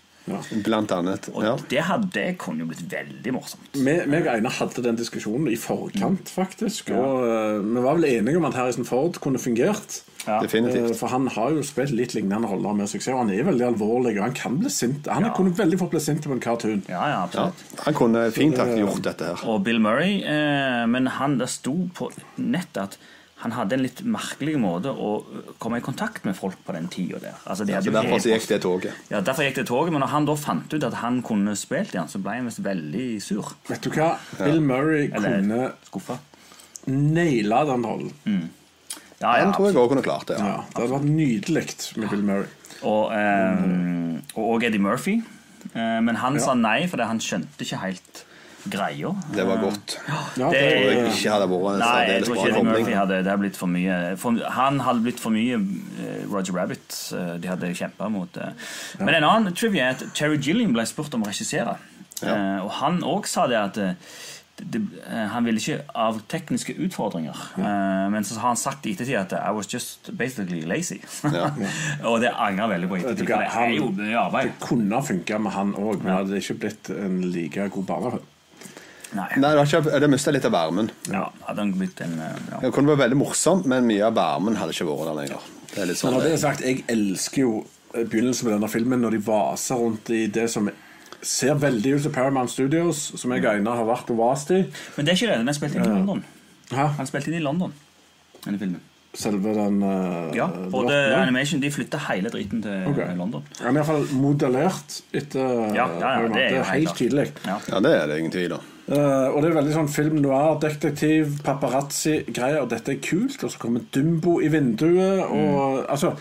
Speaker 8: Blant annet.
Speaker 7: Og
Speaker 8: Ja.
Speaker 7: det, hadde, det kunne jo blitt veldig morsomt.
Speaker 6: Vi meg og Einar hadde den diskusjonen i
Speaker 7: Mm.
Speaker 6: forkant, faktisk. Og eh, vi var vel enige om at Harrison Ford kunne fungert.
Speaker 8: Definitivt.
Speaker 6: Eh, For han har jo spilt litt lignende roller med suksess, og han er veldig alvorlig. Og han kan bli sint. Han kunne veldig fort bli sint på en cartoon.
Speaker 7: Ja, ja,
Speaker 8: Ja.
Speaker 7: absolutt.
Speaker 8: Han kunne fint ha gjort dette her.
Speaker 7: Og Bill Murray, eh, men han der sto på nettet at han hadde en litt merkelig måte å eh, komme i kontakt med folk på den tida der. Altså, de
Speaker 8: Så
Speaker 7: hadde jo
Speaker 8: derfor så
Speaker 7: e-post.
Speaker 8: gikk det toget.
Speaker 7: Ja, Derfor gikk det toget, men når han da fant ut at han kunne spilt igjen, så ble han visst veldig sur.
Speaker 6: Vet du hva? Bill Murray kunne
Speaker 7: Eller skuffa.
Speaker 6: naila den rollen.
Speaker 7: Mm. Ja, ja,
Speaker 8: Den tror jeg
Speaker 7: absolutt.
Speaker 8: òg kunne klart det.
Speaker 6: Ja,
Speaker 8: Ja.
Speaker 6: det hadde vært nydelig med Bill Murray.
Speaker 7: Og, ehm, og og Eddie Murphy. Eh, men han sa nei, fordi han skjønte ikke helt greia.
Speaker 8: Det var godt.
Speaker 6: Ja,
Speaker 7: Det
Speaker 8: Og
Speaker 7: er-
Speaker 8: jeg ikke hadde vært en
Speaker 7: Nei, jeg
Speaker 8: særdeles
Speaker 7: tror
Speaker 8: bra
Speaker 7: ikke Eddie Murphy
Speaker 8: kobling.
Speaker 7: hadde, det hadde blitt for mye for, Han hadde blitt for mye eh, Roger Rabbit. eh, De hadde kjempa mot det. Men en annen trivia er at Terry Gilliam ble spurt om å regissere. Eh, Og han òg sa det at eh, det, eh, han ville ikke av tekniske utfordringer. Eh, men så har han sagt i ettertid at eh, I was just basically lazy. <laughs> og det angrer jeg veldig på. i
Speaker 6: Vet du
Speaker 7: ettertid,
Speaker 6: hva,
Speaker 7: for Det
Speaker 6: han-
Speaker 7: er jo mye arbeid.
Speaker 6: Det kunne funka med han òg, men det hadde ikke blitt en like god barnefilm.
Speaker 7: Nei,
Speaker 8: Nei, det var ikke, det mista litt av varmen.
Speaker 7: ja, hadde han blitt en eh, ja.
Speaker 8: Det kunne vært veldig morsomt, men mye av varmen hadde ikke vært der lenger. Det er litt
Speaker 6: Men
Speaker 8: sånn
Speaker 6: når det er sagt, jeg elsker jo eh, begynnelsen på denne filmen når de vaser rundt i det som ser veldig ut som Paramount Studios, som
Speaker 7: Mm.
Speaker 6: jeg og Einar har vært og vast i.
Speaker 7: Men det er ikke det. Den er spilt inn i London.
Speaker 6: Hæ?
Speaker 7: Han spilte inn i London, denne filmen.
Speaker 6: Selve den eh,
Speaker 7: Ja, både
Speaker 6: blokken der.
Speaker 7: Animation De flytta hele driten til
Speaker 6: Ok.
Speaker 7: London.
Speaker 6: Ja, men i hvert fall modellert etter
Speaker 7: Ja, ja, ja,
Speaker 6: Paramount.
Speaker 7: det er jo
Speaker 6: helt
Speaker 7: klart.
Speaker 6: tydelig.
Speaker 7: Ja.
Speaker 8: Ja, det er det ingen tvil om.
Speaker 6: Eh, og det er veldig sånn film noir, detektiv, paparazzi-greier. Og dette er kult. Og så kommer Dumbo i vinduet.
Speaker 8: Mm.
Speaker 6: Og altså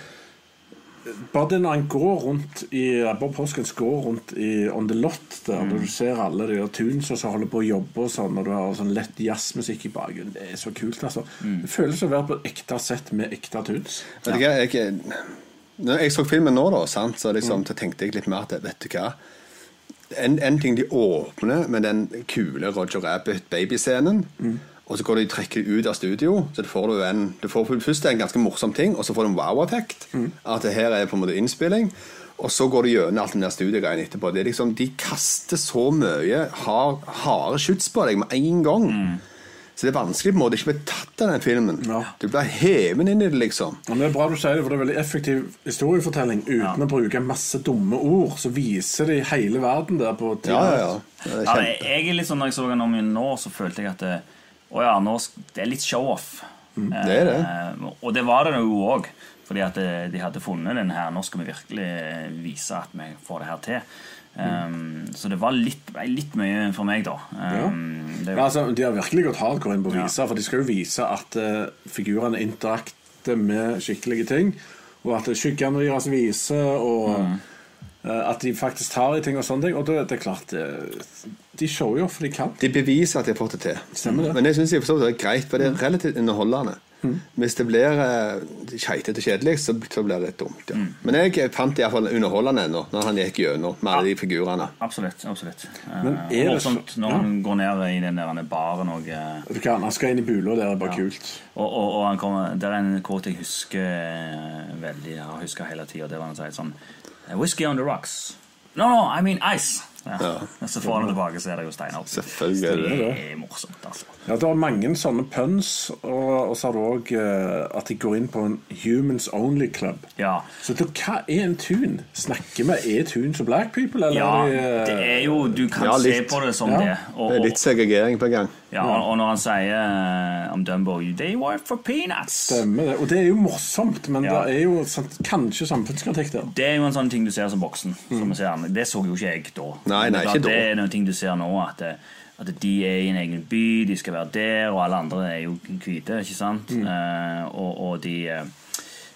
Speaker 6: Bare det når han går rundt i eh, Bob Hoskins går rundt i On the Lot der,
Speaker 8: Mm.
Speaker 6: når du ser alle de der tunesa som holder på å jobbe, og sånn, og du har sånn lett jazzmusikk i bakgrunnen. Det er så kult, altså.
Speaker 8: Mm.
Speaker 6: Det føles som å være på et ekte sett med ekte tunes.
Speaker 8: Vet du hva, jeg Når jeg så filmen nå, da, sant, så liksom, så tenkte jeg litt mer at Vet du hva En, en ting de åpner med den kule Roger Rabbit-babyscenen. Og så går de trekker de ut av studio, så du får du en, du får først en ganske morsom ting, og så får du en wow-effekt. At det her er på en måte innspilling. Og så går de gjennom alt den der studiegreien etterpå. Det er liksom, De kaster så mye har- harde skyts på deg med en gang. Så det er vanskelig på en måte ikke å bli tatt av den filmen.
Speaker 6: Ja.
Speaker 8: Du blir hevet inn i det, liksom.
Speaker 6: Ja, men det er bra du sier det, for det er veldig effektiv historiefortelling uten
Speaker 7: Ja.
Speaker 6: å bruke masse dumme ord. Så viser de hele verden der på ti
Speaker 8: Ja, ja,
Speaker 6: minutter.
Speaker 8: ja. Det er
Speaker 7: Ja,
Speaker 8: kjempe.
Speaker 7: jeg, jeg er litt sånn, Når jeg så den om igjen nå, så følte jeg at det, å ja, nå, sk- det er litt show-off.
Speaker 6: Mm,
Speaker 8: det er det.
Speaker 7: Eh, og det var det jo òg. Fordi at eh, de hadde funnet den her. Nå skal vi virkelig eh, vise at vi får det her til.
Speaker 6: Mm.
Speaker 7: Um, Så det var litt, ble litt mye for meg, da. Um, det,
Speaker 6: Ja, altså, de har virkelig gått hardcore inn på å vise, for de skal jo vise at eh, figurene interakter med skikkelige ting, og at skyggene deres viser, og
Speaker 7: Mm.
Speaker 6: eh, at de faktisk tar i ting og sånne ting. Og da er det klart eh, De shower jo for de kan.
Speaker 8: De beviser at de har fått det Mm. til.
Speaker 6: Stemmer det.
Speaker 8: Men jeg syns det er greit, for det er relativt underholdende. Hvis det blir eh, keitete og kjedelig, så, så blir det litt dumt. Ja. Men jeg fant det iallfall underholdende ennå, når han gikk gjennom med alle de figurene.
Speaker 7: Absolutt. absolutt Eh,
Speaker 6: Men er det så-
Speaker 7: Morsomt når han går ned i den der baren og eh,
Speaker 6: Du kan, Han skal inn i bula, det er bare
Speaker 7: Ja.
Speaker 6: kult.
Speaker 7: Og, og, og han kommer, Det er en quote jeg husker eh, veldig Jeg har husket hele tiden, Det var han sier sånn Whisky on the rocks. No, no, I mean ice. Ja. Og Så får han det tilbake, så er det jo steiner.
Speaker 8: Selvfølgelig er det
Speaker 7: det er morsomt, altså.
Speaker 6: Ja, Det er mange sånne puns, og, og så har du òg eh, at de går inn på en humans only club.
Speaker 7: Ja.
Speaker 6: Så da, hva er en tun? Snakker vi er tun som black people, eller
Speaker 7: Ja, det
Speaker 6: er de, eh,
Speaker 7: er jo Du kan
Speaker 8: Ja,
Speaker 7: se
Speaker 8: litt.
Speaker 7: på det som
Speaker 6: Ja.
Speaker 7: det. Og,
Speaker 8: Det er
Speaker 7: og,
Speaker 8: litt segregering på gang.
Speaker 7: ja, og, og når han sier eh, om Dumbo They work for peanuts.
Speaker 6: Stemmer det. Og det er jo morsomt, men
Speaker 7: Ja.
Speaker 6: det er jo sant, kanskje samfunnskritikk der.
Speaker 7: Det er jo en sånn ting du ser som voksen. Som vi ser. men Det så jo ikke jeg da.
Speaker 8: Mm. Nei, nei, ikke da.
Speaker 7: Det er noen ting du ser nå, at, eh, at de er i en egen by, de skal være der, og alle andre er jo hvite, ikke sant?
Speaker 8: Mm.
Speaker 7: Eh, og, og de eh,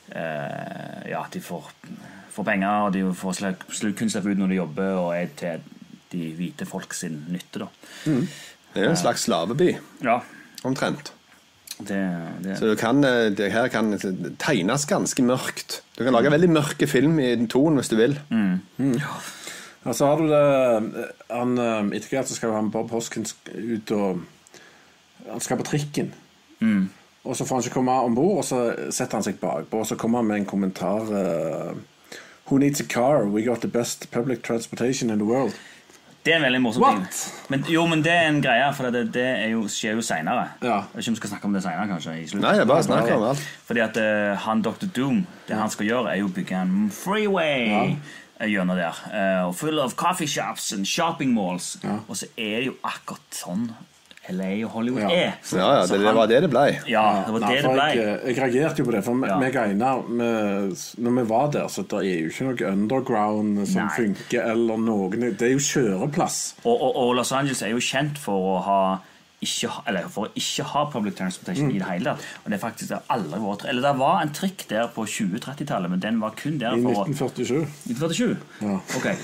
Speaker 7: eh, Ja, de får, får penger, og de får sluk- sluk- kunstløp ut når de jobber, og er til de hvite folk sin nytte, da.
Speaker 8: Det er jo en slags slaveby,
Speaker 7: Ja,
Speaker 8: omtrent.
Speaker 7: det, det
Speaker 8: Så du kan, eh, det her kan tegnes ganske mørkt. Du kan lage veldig mørke film i den tonen hvis du vil.
Speaker 6: Og så har du det han, eh, Etter hvert så skal jo han Bob Hoskins ut og Han skal på trikken.
Speaker 7: Mm.
Speaker 6: Og så får han ikke komme om bord, og så setter han seg bakpå, og så kommer han med en kommentar eh, Who needs a car? We got the best public transportation in the world.
Speaker 7: Det er en veldig morsom
Speaker 6: What?
Speaker 7: ting. Men, jo, men det er en greie, for det, det er jo, skjer jo seinere.
Speaker 6: Ja.
Speaker 7: Ikke om vi skal snakke om det senere, kanskje. I slutten.
Speaker 8: Nei, jeg bare snakker
Speaker 7: Ok.
Speaker 8: om alt.
Speaker 7: Fordi at eh, han Dr. Doom, det han skal gjøre, er jo å bygge en freeway eh, gjennom der. eh, og full of coffee shops and shopping malls. Og så er det jo akkurat sånn LA og Hollywood
Speaker 6: Ja.
Speaker 7: er.
Speaker 8: Så Ja, ja,
Speaker 7: Så
Speaker 8: det, det
Speaker 7: han-
Speaker 8: var det det blei.
Speaker 7: Ja, det var
Speaker 6: Nei, eh,
Speaker 7: det det
Speaker 6: for
Speaker 7: ble.
Speaker 6: jeg, jeg reagerte jo på det, for
Speaker 7: Ja.
Speaker 6: meg og Einar vi- Når vi var der, så det er jo ikke noe underground som
Speaker 7: Nei.
Speaker 6: funker, eller noen Det er jo kjøreplass.
Speaker 7: Og, og, og Los Angeles er jo kjent for å ha ikke, ha- eller for å ikke ha public transportation
Speaker 6: Mm.
Speaker 7: i det hele tatt. Og det er faktisk det har aldri vært Eller det var en trikk der på 20-30-tallet, men den var kun der
Speaker 6: I
Speaker 7: for å
Speaker 6: 1947.
Speaker 7: 1947?
Speaker 6: Ja. <laughs>
Speaker 7: Ok.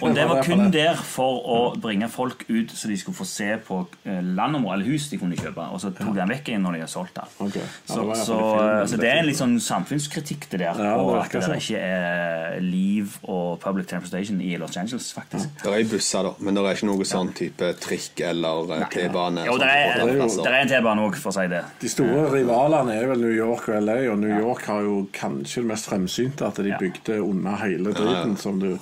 Speaker 7: Og
Speaker 6: Det
Speaker 7: det
Speaker 6: var
Speaker 7: var
Speaker 6: derfor
Speaker 7: kun
Speaker 6: det.
Speaker 7: der for å bringe folk ut, så de skulle få se på eh, landområder eller hus de kunne kjøpe. Og så tok de den vekk igjen når de hadde solgt den.
Speaker 6: Ok. Ja,
Speaker 7: Så,
Speaker 6: det var i hvert fall
Speaker 7: så,
Speaker 6: i filmen,
Speaker 7: så
Speaker 6: det
Speaker 7: det er en
Speaker 6: filmen.
Speaker 7: litt sånn samfunnskritikk det der,
Speaker 6: Ja, det
Speaker 7: og at
Speaker 6: virker
Speaker 7: det
Speaker 6: sånn.
Speaker 7: ikke er liv og public transportation i Los Angeles, faktisk.
Speaker 8: Det er busser, da, men det er ikke noe sånn type trikk eller eh, T-bane.
Speaker 7: Jo,
Speaker 8: sånn
Speaker 7: det
Speaker 8: på
Speaker 7: er,
Speaker 8: alle plasser.
Speaker 7: det er en T-bane òg, for å si det.
Speaker 6: De store rivalene er vel New York og LA, og New York har jo kanskje det mest fremsynte at de
Speaker 7: Ja.
Speaker 6: bygde unna hele driten som du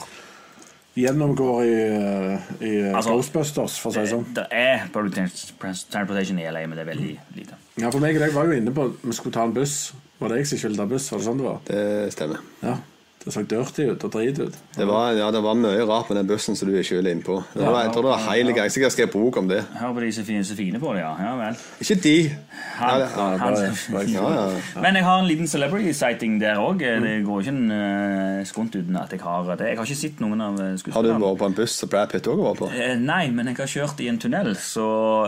Speaker 6: gjennomgår i, eh, i eh,
Speaker 7: Altså,
Speaker 6: Ghostbusters, for å si det sånn.
Speaker 7: Det er public trans- trans- transportation i LA, men det er veldig lite.
Speaker 6: Ja, for meg og deg var jo inne på at vi skulle ta en buss. Var det jeg som ikke ville ta buss? Var det sånn det var?
Speaker 8: Det stemmer.
Speaker 6: Ja. Det så dirty ut og drit ut.
Speaker 8: Det var, ja, det var mye rart med den bussen som du ikke ville innpå. Det var- Jeg tror det var Heilig Jeg sikkert skrev bok om det.
Speaker 7: Hør på de som fine, så fine på det, ja. ja vel.
Speaker 8: Ikke de!
Speaker 7: Han,
Speaker 8: Ja, det- ja,
Speaker 7: han,
Speaker 8: Ja, ja.
Speaker 7: <laughs> Men jeg har en liten celebrity sighting der òg. Det går ikke en eh, skunt uten at jeg har det. Jeg har ikke sett noen av eh,
Speaker 8: Har du
Speaker 7: skuespillerne.
Speaker 8: vært på en buss som Brad Pitt òg var på?
Speaker 7: Eh, Nei, men jeg har kjørt i en tunnel Så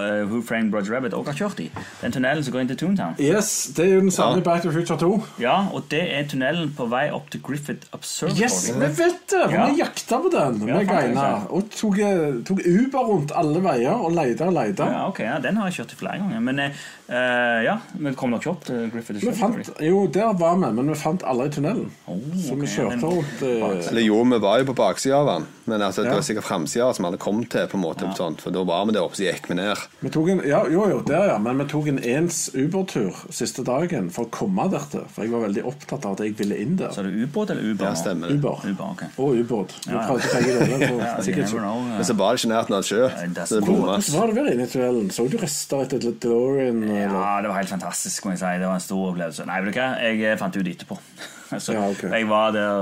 Speaker 7: eh, Who Framed Roger Rabbit også har kjørt i. Den tunnelen som går inn til Toontown.
Speaker 6: Yes, det er jo den samme
Speaker 8: Ja.
Speaker 6: i Back to the Future 2.
Speaker 7: Ja, og det er tunnelen på vei opp til Griffith Observatory.
Speaker 6: Yes, vi vet det! for
Speaker 7: Ja.
Speaker 6: Vi jakta på den.
Speaker 7: Ja,
Speaker 6: vi
Speaker 7: faktisk,
Speaker 6: greina.
Speaker 7: ja.
Speaker 6: Og tok, eh, tok Uber rundt alle veier og leita og leita.
Speaker 7: Ja, ok, ja, Den har jeg kjørt i flere ganger. Men eh, eh, ja, vi kom nok ikke opp til Griffith
Speaker 6: Vi fant,
Speaker 7: Observatory.
Speaker 6: jo, der var vi, men vi fant alle i tunnelen.
Speaker 7: Oh,
Speaker 6: så
Speaker 7: ok,
Speaker 6: vi kjørte
Speaker 7: men-
Speaker 6: rundt eh,
Speaker 8: Eller jo, vi var jo på baksida av den, men altså, det
Speaker 6: Ja.
Speaker 8: var sikkert framsida som vi hadde kommet til. på en måte, sånn, For da var vi der oppe, så gikk vi ned.
Speaker 6: vi tok en, ja, Jo, jo, der, ja. Men vi tok en ens Uber-tur siste dagen for å komme dertil. For jeg var veldig opptatt av at jeg ville inn der.
Speaker 7: Så er det ubåt eller Uber?
Speaker 8: Ja,
Speaker 7: nå?
Speaker 8: stemmer det.
Speaker 6: Uber.
Speaker 7: Uber, ok.
Speaker 6: Og ubåt. Vi
Speaker 7: Ja, ja.
Speaker 6: prøvde begge
Speaker 7: <laughs>
Speaker 6: deler.
Speaker 7: Ja,
Speaker 6: så
Speaker 7: you
Speaker 6: sikkert
Speaker 7: never
Speaker 6: så-
Speaker 7: know, eh. ja.
Speaker 8: Men så var det ikke nært nær sjø.
Speaker 7: det er
Speaker 8: Så det
Speaker 7: så-
Speaker 8: bomma.
Speaker 6: Hvordan var det ved initiellen? Så du rester etter DeLorean? Eller?
Speaker 7: Ja, det var helt fantastisk, må jeg si. Det var en stor opplevelse. Nei, vet du hva? Jeg eh, fant det ut etterpå. <laughs> så
Speaker 6: Ja, ok.
Speaker 7: Jeg var der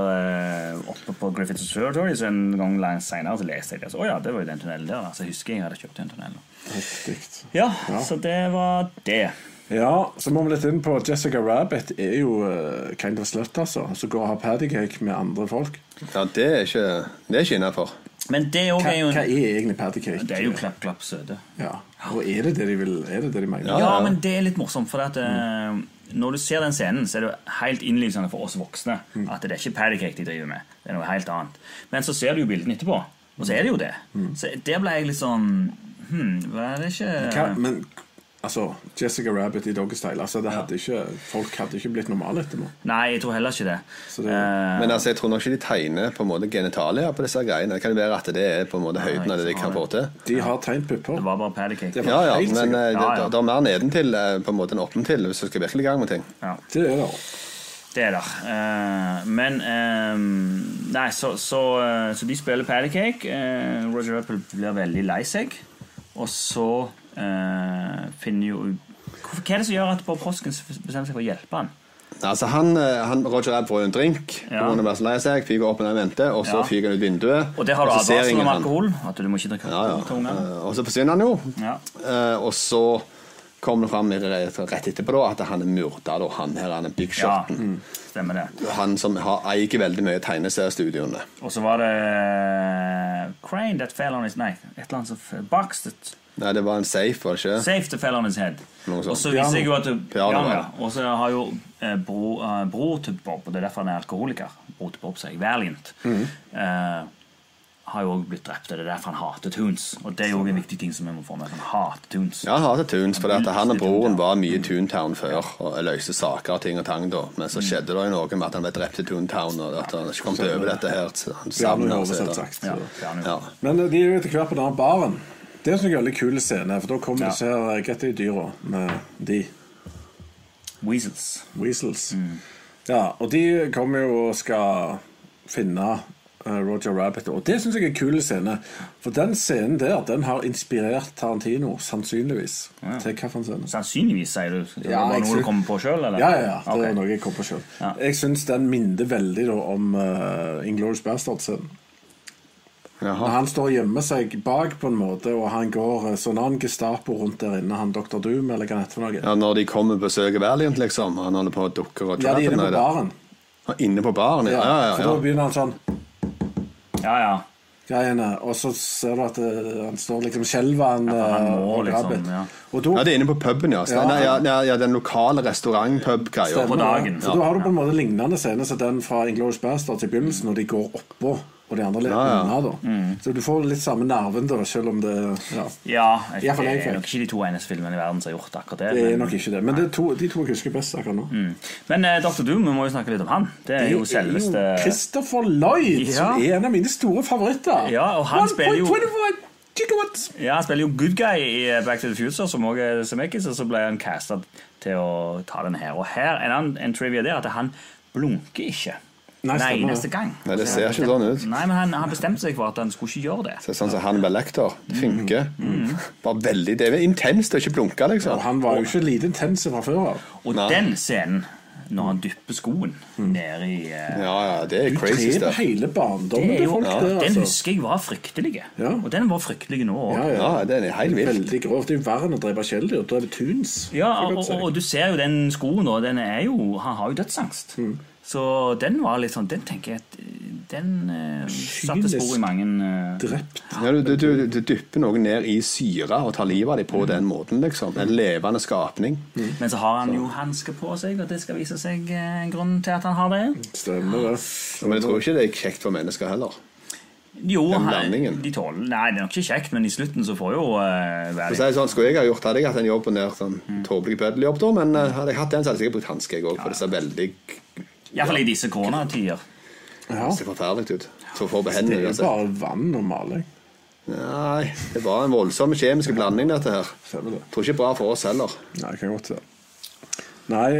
Speaker 7: eh, oppe på Griffiths Observatory, så en gang langt senere så leste jeg det. Så, å ja, det var jo den tunnelen der. da." Så jeg husker jeg hadde kjøpt den tunnelen.
Speaker 6: Heftigt.
Speaker 7: Ja, så det var det.
Speaker 6: Ja, så må vi litt inn på Jessica Rabbit er jo eh, kind of slut, altså. Som går og har paddycake med andre folk.
Speaker 8: Ja, det er ikke, det er ikke innafor.
Speaker 7: Men det òg
Speaker 6: Hva,
Speaker 7: er jo
Speaker 6: hva
Speaker 7: en
Speaker 6: er egentlig paddycake?
Speaker 7: det er jo klapp, klapp, søte.
Speaker 6: Ja. Og er det det de vil Er det det de mener?
Speaker 8: Ja,
Speaker 7: Ja,
Speaker 8: ja.
Speaker 7: men det er litt morsomt, for at, eh, når du ser den scenen, så er det jo helt innlysende for oss voksne
Speaker 6: Mm.
Speaker 7: at det er ikke paddycake de driver med. Det er noe helt annet. Men så ser du jo bildene etterpå, og så er det jo det. Så der ble jeg litt sånn Hm, var det ikke
Speaker 6: Hva, Mm. men altså Jessica Rabbit i doggystyle. Altså, det hadde ikke, folk hadde ikke blitt normale etter nå.
Speaker 7: Nei, jeg tror heller ikke det.
Speaker 6: Så det-
Speaker 7: Eh,
Speaker 8: Men altså, jeg tror nok ikke de tegner på en måte genitalia på disse greiene. Det kan jo være at det er på en måte høyden av det de kan få til.
Speaker 6: De har tegnet
Speaker 7: det
Speaker 6: pupper.
Speaker 7: var bare paddycake.
Speaker 6: Det var-
Speaker 8: Ja, ja,
Speaker 6: Helt
Speaker 8: men
Speaker 6: sikkert.
Speaker 8: eh, det,
Speaker 7: Ja, ja.
Speaker 8: det er mer nedentil eh, på en måte enn oppentil hvis du skal virkelig i gang med ting.
Speaker 7: Ja,
Speaker 6: Det er det.
Speaker 7: det er der. Eh, men eh, Nei, så, så, eh, så de spiller paddycake. eh, Roger Apple blir veldig lei seg. Og så eh, finner jo Hvorfor- Hva er det som gjør at Bob Hoskins bestemmer seg for å hjelpe han?
Speaker 8: Altså, han, eh, han Roger Rabb får jo en drink,
Speaker 7: Ja.
Speaker 8: ja. blir så lei seg, fyker opp med den vente, og så
Speaker 7: Ja.
Speaker 8: fyker han ut vinduet.
Speaker 7: Og der har du
Speaker 8: og så ser
Speaker 7: advarsel
Speaker 8: ingen
Speaker 7: om
Speaker 8: han.
Speaker 7: alkohol. At du må ikke drikke
Speaker 8: Altså, Ja,
Speaker 7: alkohol til
Speaker 8: ja.
Speaker 7: ungene.
Speaker 8: Eh, Og så forsvinner han jo.
Speaker 7: Ja.
Speaker 8: Eh, Og så kom det fram i- rett etterpå da, at han er myrda, da, han her, han er big
Speaker 7: Ja,
Speaker 8: shoten.
Speaker 7: stemmer det.
Speaker 8: Han som har, eier veldig mye tegneseriestudioene.
Speaker 7: Og så var det eh, Crane that fell on his Nei, et eller annet som f- Box that
Speaker 8: Nei, det var en safe, var det ikke?
Speaker 7: Safe to fell on his head.
Speaker 8: Noe sånt.
Speaker 7: Og så viser jeg jo at
Speaker 8: Piano,
Speaker 7: ja, ja.
Speaker 8: ja.
Speaker 7: Og så har jo eh, bro, eh, bror til Bob, og det er derfor han er alkoholiker, bror til Bob, sier jeg, Valiant,
Speaker 8: Mhm.
Speaker 7: eh, har jo også blitt drept. Og det er derfor han hater Tunes. Og det er jo også en viktig ting som vi må få med. Han hater Tunes.
Speaker 8: Ja, han hater Tunes, fordi at han og
Speaker 7: Tunes,
Speaker 8: broren
Speaker 7: ja.
Speaker 8: var
Speaker 6: Mm.
Speaker 8: mye i Toontown før og løste saker og ting og tang da. Men
Speaker 6: Mm.
Speaker 8: så skjedde det jo noe med at han ble drept i Toontown, og at han ikke kom til å over dette her. så Han
Speaker 6: Bjarne
Speaker 8: savner
Speaker 6: Hove,
Speaker 8: oss
Speaker 6: selvsagt.
Speaker 7: Ja,
Speaker 6: så-
Speaker 7: Piano.
Speaker 8: Ja.
Speaker 6: Men eh, de er jo etter hvert på denne baren. Det er en sånn veldig kul scene, for da kommer
Speaker 7: Ja.
Speaker 6: disse her eh, Get de dyra med de
Speaker 7: Weasels.
Speaker 6: weasels.
Speaker 7: Mm.
Speaker 6: Ja, og de kommer jo og skal finne eh, Roger Rabbit, og det syns jeg er en kul scene. For den scenen der, den har inspirert Tarantino, sannsynligvis, til kaffescenen.
Speaker 7: Sannsynligvis, sier du. Det
Speaker 6: Ja,
Speaker 7: var
Speaker 6: jeg
Speaker 7: noe
Speaker 6: tror-
Speaker 7: du kom på sjøl, eller?
Speaker 6: Ja, ja, ja. Det
Speaker 7: Ok.
Speaker 6: er noe jeg kom på selv
Speaker 7: Ja.
Speaker 6: Jeg syns den minner veldig da, om uh, Inglorious Bastards-scenen. Når
Speaker 8: Jaha.
Speaker 6: han står og gjemmer seg bak på en måte, og han går eh, sånn han Gestapo rundt der inne, han Dr. Doom, eller hva det heter for noe.
Speaker 8: Ja, når de kommer og besøker Valiant, liksom, og han holder på å dukke og
Speaker 6: Ja, de er
Speaker 8: trappen
Speaker 6: inne
Speaker 8: er
Speaker 6: på
Speaker 8: det.
Speaker 6: baren.
Speaker 8: Ja, Inne på baren, ja. ja,
Speaker 6: For
Speaker 8: ja,
Speaker 6: da
Speaker 8: ja.
Speaker 6: begynner han sånn
Speaker 7: ja, ja.
Speaker 6: greiene, og så ser du at eh, han står liksom skjelver han,
Speaker 7: for han
Speaker 6: eh,
Speaker 7: må
Speaker 6: og
Speaker 7: liksom,
Speaker 6: Rabbit.
Speaker 7: ja.
Speaker 6: Og da
Speaker 8: Ja, det er inne på puben, ja.
Speaker 6: Ja.
Speaker 8: Nei, ja, ja, ja den lokale restaurant-pub-greia.
Speaker 6: stemmer
Speaker 7: på
Speaker 6: det.
Speaker 7: dagen.
Speaker 6: Så da har du på en måte lignende scene som den fra Inglourious Bastards i begynnelsen, når de går oppå, og de andre ligger
Speaker 8: Ja, ja.
Speaker 6: unna, da. Så du får litt samme nerven der, selv om det ja.
Speaker 7: Mm. ja
Speaker 6: Ja,
Speaker 7: jeg,
Speaker 6: for
Speaker 7: det
Speaker 6: det er
Speaker 7: er nok ikke de to eneste filmene i verden som har gjort akkurat det.
Speaker 6: Det er
Speaker 7: men-
Speaker 6: nok ikke det. Men det er to, de to jeg husker best akkurat nå.
Speaker 7: Men eh, Dr. Doom, vi må jo snakke litt om han. Det er jo selveste
Speaker 6: jo Christopher Lloyd,
Speaker 7: Ja.
Speaker 6: som er en av mine store favoritter.
Speaker 7: Ja, og han spiller jo-
Speaker 6: 1.24 gigawatts.
Speaker 7: Ja, Han spiller jo good guy i eh, Back to the Future, som også er Zemeckis, og så ble han casta til å ta den her. Og her en, annen, en trivia der at han blunker ikke.
Speaker 6: Nei, stemmer det.
Speaker 7: neste gang.
Speaker 8: Nei, det ser ikke sånn ut.
Speaker 7: Nei, men han, han bestemte seg for at han skulle ikke gjøre det.
Speaker 8: Så sånn som Hannibal Lecter. Det funker.
Speaker 6: Mm,
Speaker 8: Bare veldig, det er intenst å ikke blunke, liksom.
Speaker 6: Og han var jo ikke lite intens fra før av.
Speaker 7: Og
Speaker 8: Nei.
Speaker 7: den scenen når han dypper skoen
Speaker 6: Mm.
Speaker 7: nede i eh,
Speaker 8: Ja, ja, det er
Speaker 6: Du
Speaker 8: crazy
Speaker 6: drev
Speaker 8: stuff.
Speaker 6: hele barndommen
Speaker 7: Det er
Speaker 6: til
Speaker 7: jo-
Speaker 6: folk
Speaker 7: ja,
Speaker 6: der,
Speaker 7: Den
Speaker 6: altså.
Speaker 7: husker jeg var fryktelig.
Speaker 6: Ja.
Speaker 7: Og den var fryktelig nå òg.
Speaker 6: Ja,
Speaker 8: Ja, det er helt vilt.
Speaker 6: Veldig grovt. Det er jo verre enn å drepe kjæledyr. Du dreper tuns.
Speaker 7: Ja,
Speaker 6: kan jeg
Speaker 7: og,
Speaker 6: godt si. sånn.
Speaker 7: og, og du ser jo den skoen, og den er jo, han har jo dødsangst.
Speaker 8: Mm.
Speaker 7: Så den var litt sånn Den tenker jeg at Den eh, satte
Speaker 6: Kynisk
Speaker 7: spor i mange eh,
Speaker 6: Drept.
Speaker 8: Ja, du, du, du, du dypper noen ned i syre og tar livet av dem på den måten. liksom. En levende skapning.
Speaker 7: Men så har han jo hansker på seg, og det skal vise seg eh, en grunn til at han har det.
Speaker 6: Stemmer det.
Speaker 8: Men jeg tror ikke det er kjekt for mennesker heller.
Speaker 7: Jo,
Speaker 8: Den
Speaker 7: han,
Speaker 8: blandingen.
Speaker 7: de tåler Nei, det er nok ikke kjekt, men i slutten så får jo
Speaker 8: For
Speaker 7: eh,
Speaker 8: å
Speaker 7: være
Speaker 8: si det sånn, Skulle jeg ha gjort hadde jeg hatt en jobb på nær sånn tåpelig bøddeljobb, da, men eh, hadde jeg hatt den, så hadde jeg sikkert brukt hanske, jeg òg, for det ser veldig
Speaker 7: Iallfall i disse koronatider.
Speaker 6: Ja.
Speaker 8: det ser forferdelig ut. Så får på
Speaker 6: Det
Speaker 8: hendene
Speaker 6: er jo
Speaker 8: uansett.
Speaker 6: bare vann og maling.
Speaker 8: Nei, det var en voldsom kjemisk blanding, dette her.
Speaker 6: Stemmer det.
Speaker 8: Tror ikke bra for oss heller.
Speaker 6: Nei, det kan godt være. Nei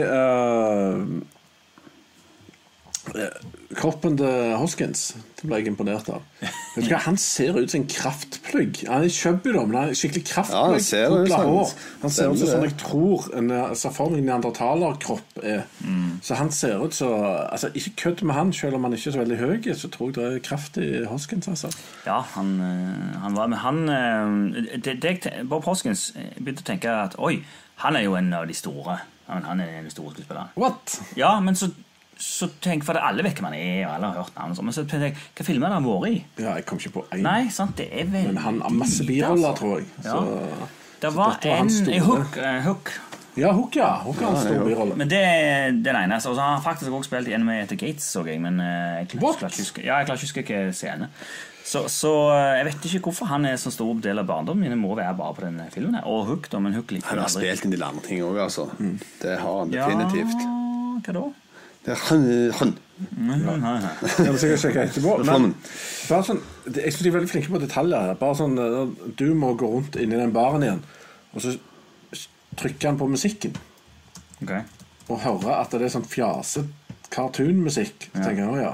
Speaker 6: eh, eh, Kroppen til Hoskins det ble jeg imponert av. Vet du hva, Han ser ut som en kraftplugg. Han er kjøbbel, men han er skikkelig
Speaker 8: Ja, han
Speaker 6: kraftplugg.
Speaker 8: ser ut
Speaker 6: dobla
Speaker 8: som-
Speaker 6: hår. Han ser ut som
Speaker 8: Stemmer
Speaker 6: sånn
Speaker 8: det.
Speaker 6: jeg tror en eh, ser for meg en neandertalerkropp er.
Speaker 8: Mm.
Speaker 6: Så han ser ut så altså, Ikke kødd med han, selv om han ikke er så veldig høy, så tror jeg det er kraft i Hoskins. Altså.
Speaker 7: Ja, han, eh, han var Men han eh, det, det, jeg te- Bob Hoskins eh, begynte å tenke at oi, han er jo en av de store. Han, han er en av de store skuespillerne.
Speaker 6: What?
Speaker 7: Ja, men så, så tenk, for det alle vet hvem han er, og alle har hørt navnet. og sånn, Men så tenker jeg, hva filmer har han vært i?
Speaker 6: Ja, jeg kom ikke på én.
Speaker 7: Nei, sant, det er veldig
Speaker 6: Men han har masse
Speaker 7: lite,
Speaker 6: biroller,
Speaker 7: altså.
Speaker 6: tror jeg.
Speaker 7: Ja.
Speaker 6: Så,
Speaker 7: Det
Speaker 6: så
Speaker 7: var
Speaker 6: dette var
Speaker 7: en
Speaker 6: hans store.
Speaker 7: eh, hook, eh, hook.
Speaker 6: Ja, Hook, ja. Hook har en stor birolle.
Speaker 7: Men det er den ene. altså. Og så har han faktisk også spilt i en med Etter Gates, så jeg. Men eh, jeg
Speaker 6: What?
Speaker 7: klarer klarer ikke å huske ja, jeg klarer ikke å huske hvilken scene. Så, så eh, jeg vet ikke hvorfor han er så stor del av barndommen min. Det må være bare på denne filmen. her. Og Hook, da. Men Hook liker
Speaker 8: Han har
Speaker 7: jeg aldri.
Speaker 8: spilt inn de andre ting òg, altså. Det har han
Speaker 7: Ja,
Speaker 8: definitivt.
Speaker 7: hva da?
Speaker 8: Det er han, han.
Speaker 7: Nei, nei, nei.
Speaker 6: <laughs> Ja, men så kan jeg sjekke etterpå. Men
Speaker 8: Flammen.
Speaker 6: bare sånn, det- jeg synes de er veldig flinke på detaljer her. Bare sånn, eh, Du må gå rundt inni den baren igjen, og så trykker han på musikken.
Speaker 7: Ok.
Speaker 6: Og hører at det er sånn fjasete cartoonmusikk. Så tenker jeg, å ja.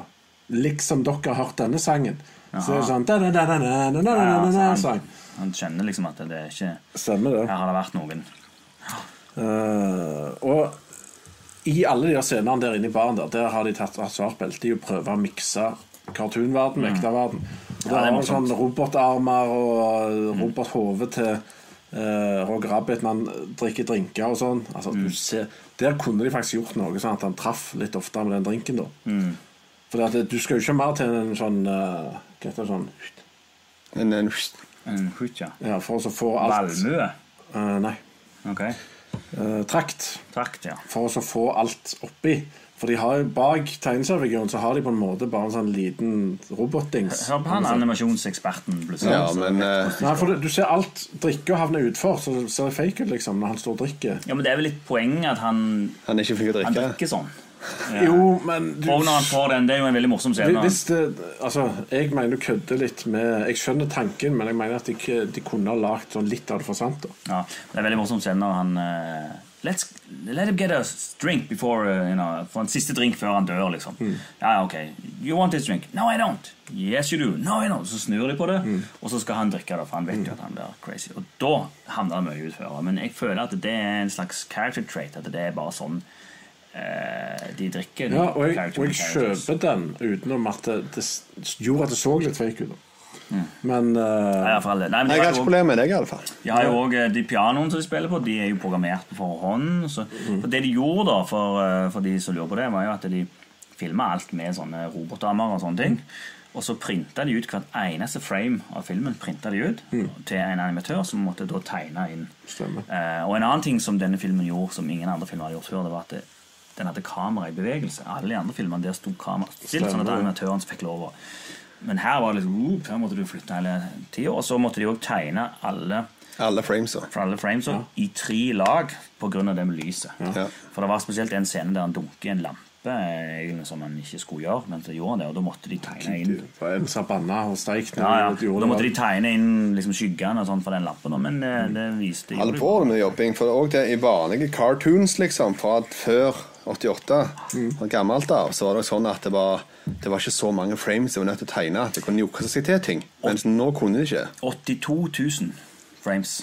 Speaker 6: Liksom dere har hørt denne sangen. Så det er sånn da, da, da, da, da, da, da,
Speaker 7: Ja,
Speaker 6: da, da,
Speaker 7: altså,
Speaker 6: da,
Speaker 7: han,
Speaker 6: sang.
Speaker 7: han kjenner liksom at det er ikke
Speaker 6: Stemmer det.
Speaker 7: Her har det vært noen.
Speaker 6: Eh, og i alle de der scenene der inne i baren der, der har de tatt av svart belte i å prøve å mikse cartoonverden med ekte verden.
Speaker 7: Mm.
Speaker 6: Og der
Speaker 7: det er
Speaker 6: har du
Speaker 7: morsomt. Mm.
Speaker 6: sånn robotarmer og eh, robothode til eh, Roger Rabbit når han drikker drinker og sånn. Altså,
Speaker 7: Mm.
Speaker 6: du ser, der kunne de faktisk gjort noe sånn at han traff litt oftere med den drinken, da.
Speaker 7: Mm.
Speaker 6: For at, det- du skal jo ikke mer til en sånn eh, Hva heter det sånn
Speaker 8: En, en,
Speaker 7: En hutja.
Speaker 6: ja, For å så få alt
Speaker 7: Valmue.
Speaker 6: Eh, Nei.
Speaker 7: Ok.
Speaker 6: Eh, trakt.
Speaker 7: Trakt, ja.
Speaker 6: for å så få alt oppi. For de har jo bak tegneseriefiguren så har de på en måte bare en sånn liten robotdings.
Speaker 7: Hør på han animasjonseksperten plutselig.
Speaker 8: ja, men eh,
Speaker 6: Nei, for du, du ser alt drikke og havne utfor, så det ser fake ut liksom når han står og drikker.
Speaker 7: Ja, men det er vel litt poeng at han,
Speaker 8: han er ikke flink til å
Speaker 7: han
Speaker 8: drikke.
Speaker 7: drikker sånn.
Speaker 6: Jo, men du
Speaker 7: Og når han får den, det er jo en veldig morsom scene.
Speaker 6: Hvis det, altså, jeg mener du kødder litt med Jeg skjønner tanken, men jeg mener at de, ikke- de kunne ha lagd sånn litt av det for sant. da.
Speaker 7: Ja, det er veldig morsom scene når han eh, Let's let him get a drink before eh, you know, For en siste drink før han dør, liksom.
Speaker 6: Mm.
Speaker 7: Ja, ok. You want this drink? No, I don't. Yes, you do. No, I don't. Så snur de på det,
Speaker 6: Mm.
Speaker 7: og så skal han drikke det, for han vet jo at han blir crazy. Og da havner han mye utfor. Men jeg føler at det er en slags character trait. At det er bare sånn eh, de drikker. de
Speaker 6: Ja, og jeg,
Speaker 7: character
Speaker 6: og jeg
Speaker 7: characters.
Speaker 6: kjøper den utenom at det, det s- gjorde at det så litt fake ut. da. Men eh,
Speaker 7: Mm. Ja, for alle. Nei, men de
Speaker 8: Jeg
Speaker 7: har
Speaker 8: har
Speaker 7: jo-
Speaker 8: ikke problemer med deg, i alle fall.
Speaker 7: De har jo også, eh, de pianoene som de spiller på, de er jo programmert på forhånd. Så,
Speaker 6: Mm.
Speaker 7: for det de gjorde da, for, eh, for de som lurer på det, var jo at de filma alt med sånne robotdamer og sånne ting.
Speaker 6: Mm.
Speaker 7: Og så printa de ut hvert eneste frame av filmen printet de ut til en animatør som måtte da tegne inn.
Speaker 6: Mm. Stemmer.
Speaker 7: Eh, og en annen ting som denne filmen gjorde, som ingen andre filmer hadde gjort før, det var at det, den hadde kamera i bevegelse. Alle de andre filmene der sto kamera stilt, sånn at
Speaker 6: Stemmer.
Speaker 7: animatøren fikk lov å Men her var det litt oop, her måtte du flytte hele tida. Og så måtte de òg tegne alle
Speaker 8: Alle framesa.
Speaker 7: fra alle frames og i tre lag pga. det med lyset.
Speaker 8: Ja.
Speaker 7: For det var spesielt en scene der han dunker i en lampe eh, egentlig som han ikke skulle gjøre, men så gjorde han det, og da måtte de tegne inn
Speaker 6: en sabanna og steik
Speaker 7: ja, ja. Da måtte de tegne inn liksom, skyggene og sånn for den lampen, da, men det, det viste
Speaker 8: Mm. Alle får det med jobbing, for det er også det i vanlige cartoons liksom, fra før 88,
Speaker 7: Mm.
Speaker 8: fra gammelt av, så var det sånn at det var, det var ikke så mange frames de var nødt til å tegne. at De kunne jukse seg til ting, mens nå kunne de ikke.
Speaker 7: 82 000 frames.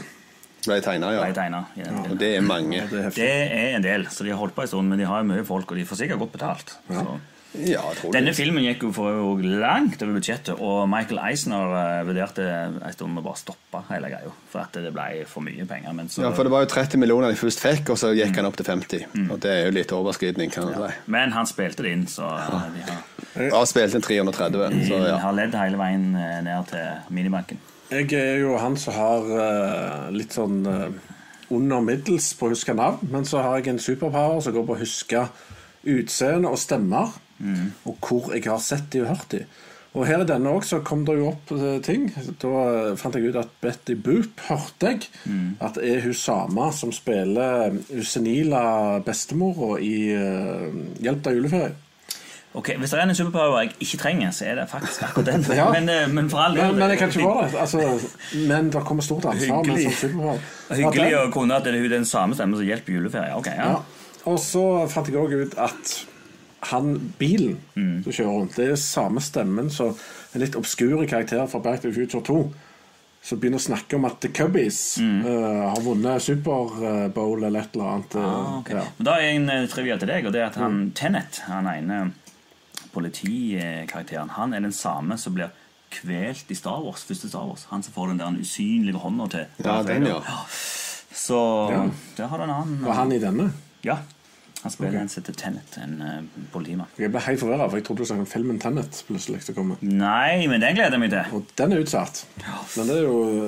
Speaker 8: Ble tegna, ja.
Speaker 7: ble tegna i den filmen.
Speaker 8: Og det er mange.
Speaker 6: Det er heftig.
Speaker 7: Det er en del, så de har holdt på en stund, men de har jo mye folk, og de får sikkert godt betalt. Så.
Speaker 8: Ja, jeg tror
Speaker 7: Denne
Speaker 8: det.
Speaker 7: filmen gikk jo for jo langt over budsjettet, og Michael Eisner eh, vurderte en stund å bare stoppe hele greia, for at det ble for mye penger. Men så
Speaker 8: Ja, for det var jo 30 millioner de først fikk, og så
Speaker 7: Mm.
Speaker 8: gikk han opp til 50. Og det er jo litt overskridning, kan man si.
Speaker 7: Men han spilte det inn, så eh, de
Speaker 6: <laughs>
Speaker 7: har,
Speaker 8: Jeg har spilt inn 330, så
Speaker 7: de
Speaker 8: ja.
Speaker 7: har ledd hele veien eh, ned til minibanken.
Speaker 6: Jeg er jo han som har eh, litt sånn eh, under middels på å huske navn, men så har jeg en superpower som går på å huske utseende og stemmer, og hvor jeg har sett de og hørt de. Og her i denne òg så kom det jo opp eh, ting. Da eh, fant jeg ut at Betty Boop hørte jeg at er hun samme som spiller eh, hun senile bestemora i eh, 'Hjelp deg juleferie'.
Speaker 7: Ok, Hvis det er en superpower jeg ikke trenger, så er det faktisk akkurat den.
Speaker 6: <laughs> Ja.
Speaker 7: men, eh, men for all del
Speaker 6: Men, men jeg kan ikke være det. Altså, men det kommer stort ansvar. med en sånn superpower.
Speaker 7: Hyggelig
Speaker 6: At
Speaker 7: å kunne at det er hun den samme stemmen som hjelper i juleferie. Ok, ja.
Speaker 6: Ja. Og så fant jeg òg ut at han bilen
Speaker 8: Mm.
Speaker 6: som kjører rundt, det er samme stemmen som en litt obskure karakter fra Back to the Future 2. Som begynner å snakke om at The Cubbies
Speaker 8: Mm.
Speaker 6: eh, har vunnet Super eh, Bowl eller et eller annet. eh,
Speaker 7: Ah, ok.
Speaker 6: ja.
Speaker 7: Men da er en eh, trivia til deg, og det er at han Tennet, han ene politikarakteren, han er den samme som blir kvelt i Star Wars, første Star Wars. Han som får den der usynlige hånda til
Speaker 8: Ja, den, ja.
Speaker 7: Så der har du en annen.
Speaker 6: Var han i denne?
Speaker 7: Ja. Han spiller en som heter Tennet, en uh, politimann.
Speaker 6: Jeg ble helt forvirra, for jeg trodde du snakket om filmen Tenet. plutselig som kommer.
Speaker 7: Nei, men den gleder jeg meg til.
Speaker 6: Og den er utsatt. Men det er jo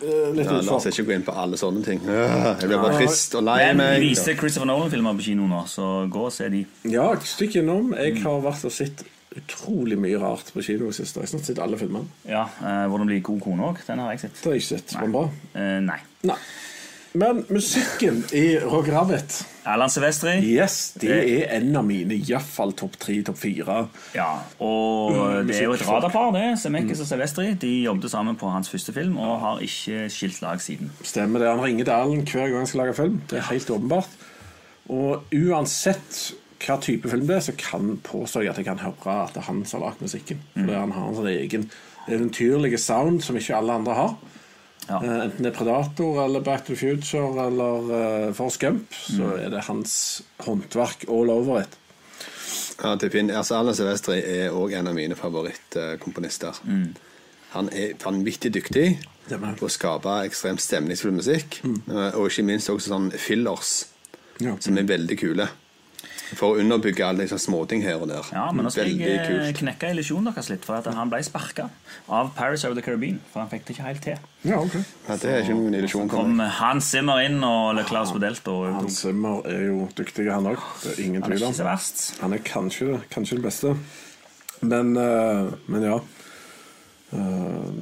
Speaker 6: eh, litt
Speaker 8: Ja, La oss
Speaker 6: utsatt.
Speaker 8: ikke gå inn på alle sånne ting. Øh, Jeg blir bare trist og lei
Speaker 7: Men de
Speaker 8: meg.
Speaker 7: viser Christopher Nolan-filmer på kino nå, så gå og se de.
Speaker 6: Ja, stikk innom.
Speaker 8: Mm.
Speaker 6: Jeg har vært og sett utrolig mye rart på kino i det siste. Jeg har snart sett alle filmene.
Speaker 7: Ja, eh, Hvordan bli god kone òg. Den har jeg sett.
Speaker 6: Det har jeg ikke sett. Var den bra?
Speaker 7: Eh, nei.
Speaker 6: Nei. Men musikken i Roger Rabbit
Speaker 7: Erland Silvestri.
Speaker 6: Yes, det er en av mine iallfall topp tre, topp fire.
Speaker 7: Ja, og det er jo et radarpar, det. Semekis og Silvestri. De jobbet sammen på hans første film og har ikke skilt lag siden.
Speaker 6: Stemmer det. Han ringer til Allen hver gang han skal lage film. Det er helt åpenbart. Og uansett hva type film det er, så kan påstår jeg at jeg kan høre at det er han som har lagd musikken. For han har en sånn egen eventyrlige sound som ikke alle andre har.
Speaker 7: Ja.
Speaker 6: Eh, Enten det er Predator eller Back to the Future eller uh, Force Gump, så er det hans håndverk all over it.
Speaker 8: Ja, til Finn. Altså, Alan Silvestri er også en av mine favorittkomponister.
Speaker 7: Mm.
Speaker 8: Han er vanvittig dyktig
Speaker 6: Det er Mm. han.
Speaker 8: på å skape ekstremt stemningsfull musikk, eh, og ikke minst også sånn fillers,
Speaker 6: Ja.
Speaker 8: som
Speaker 7: Mm.
Speaker 8: er veldig kule. For å underbygge alle liksom, småting her og der.
Speaker 7: Ja, men nå skal
Speaker 8: veldig
Speaker 7: jeg eh,
Speaker 8: kult.
Speaker 7: knekke illusjonen deres litt, for at han ble sparka av Paris Over the Caribbean. For han fikk det ikke helt til.
Speaker 6: Ja, ok.
Speaker 8: Ja, det er ikke noen illusjon. for meg.
Speaker 7: Kom Hans Zimmer inn og Le Claus Bodelt og
Speaker 6: Hans Zimmer er jo dyktig, han òg. Det er ingen
Speaker 7: Han er
Speaker 6: tvil
Speaker 7: ikke
Speaker 6: om.
Speaker 7: så verst.
Speaker 6: Han er kanskje, kanskje den beste. Men, eh, men ja. Eh,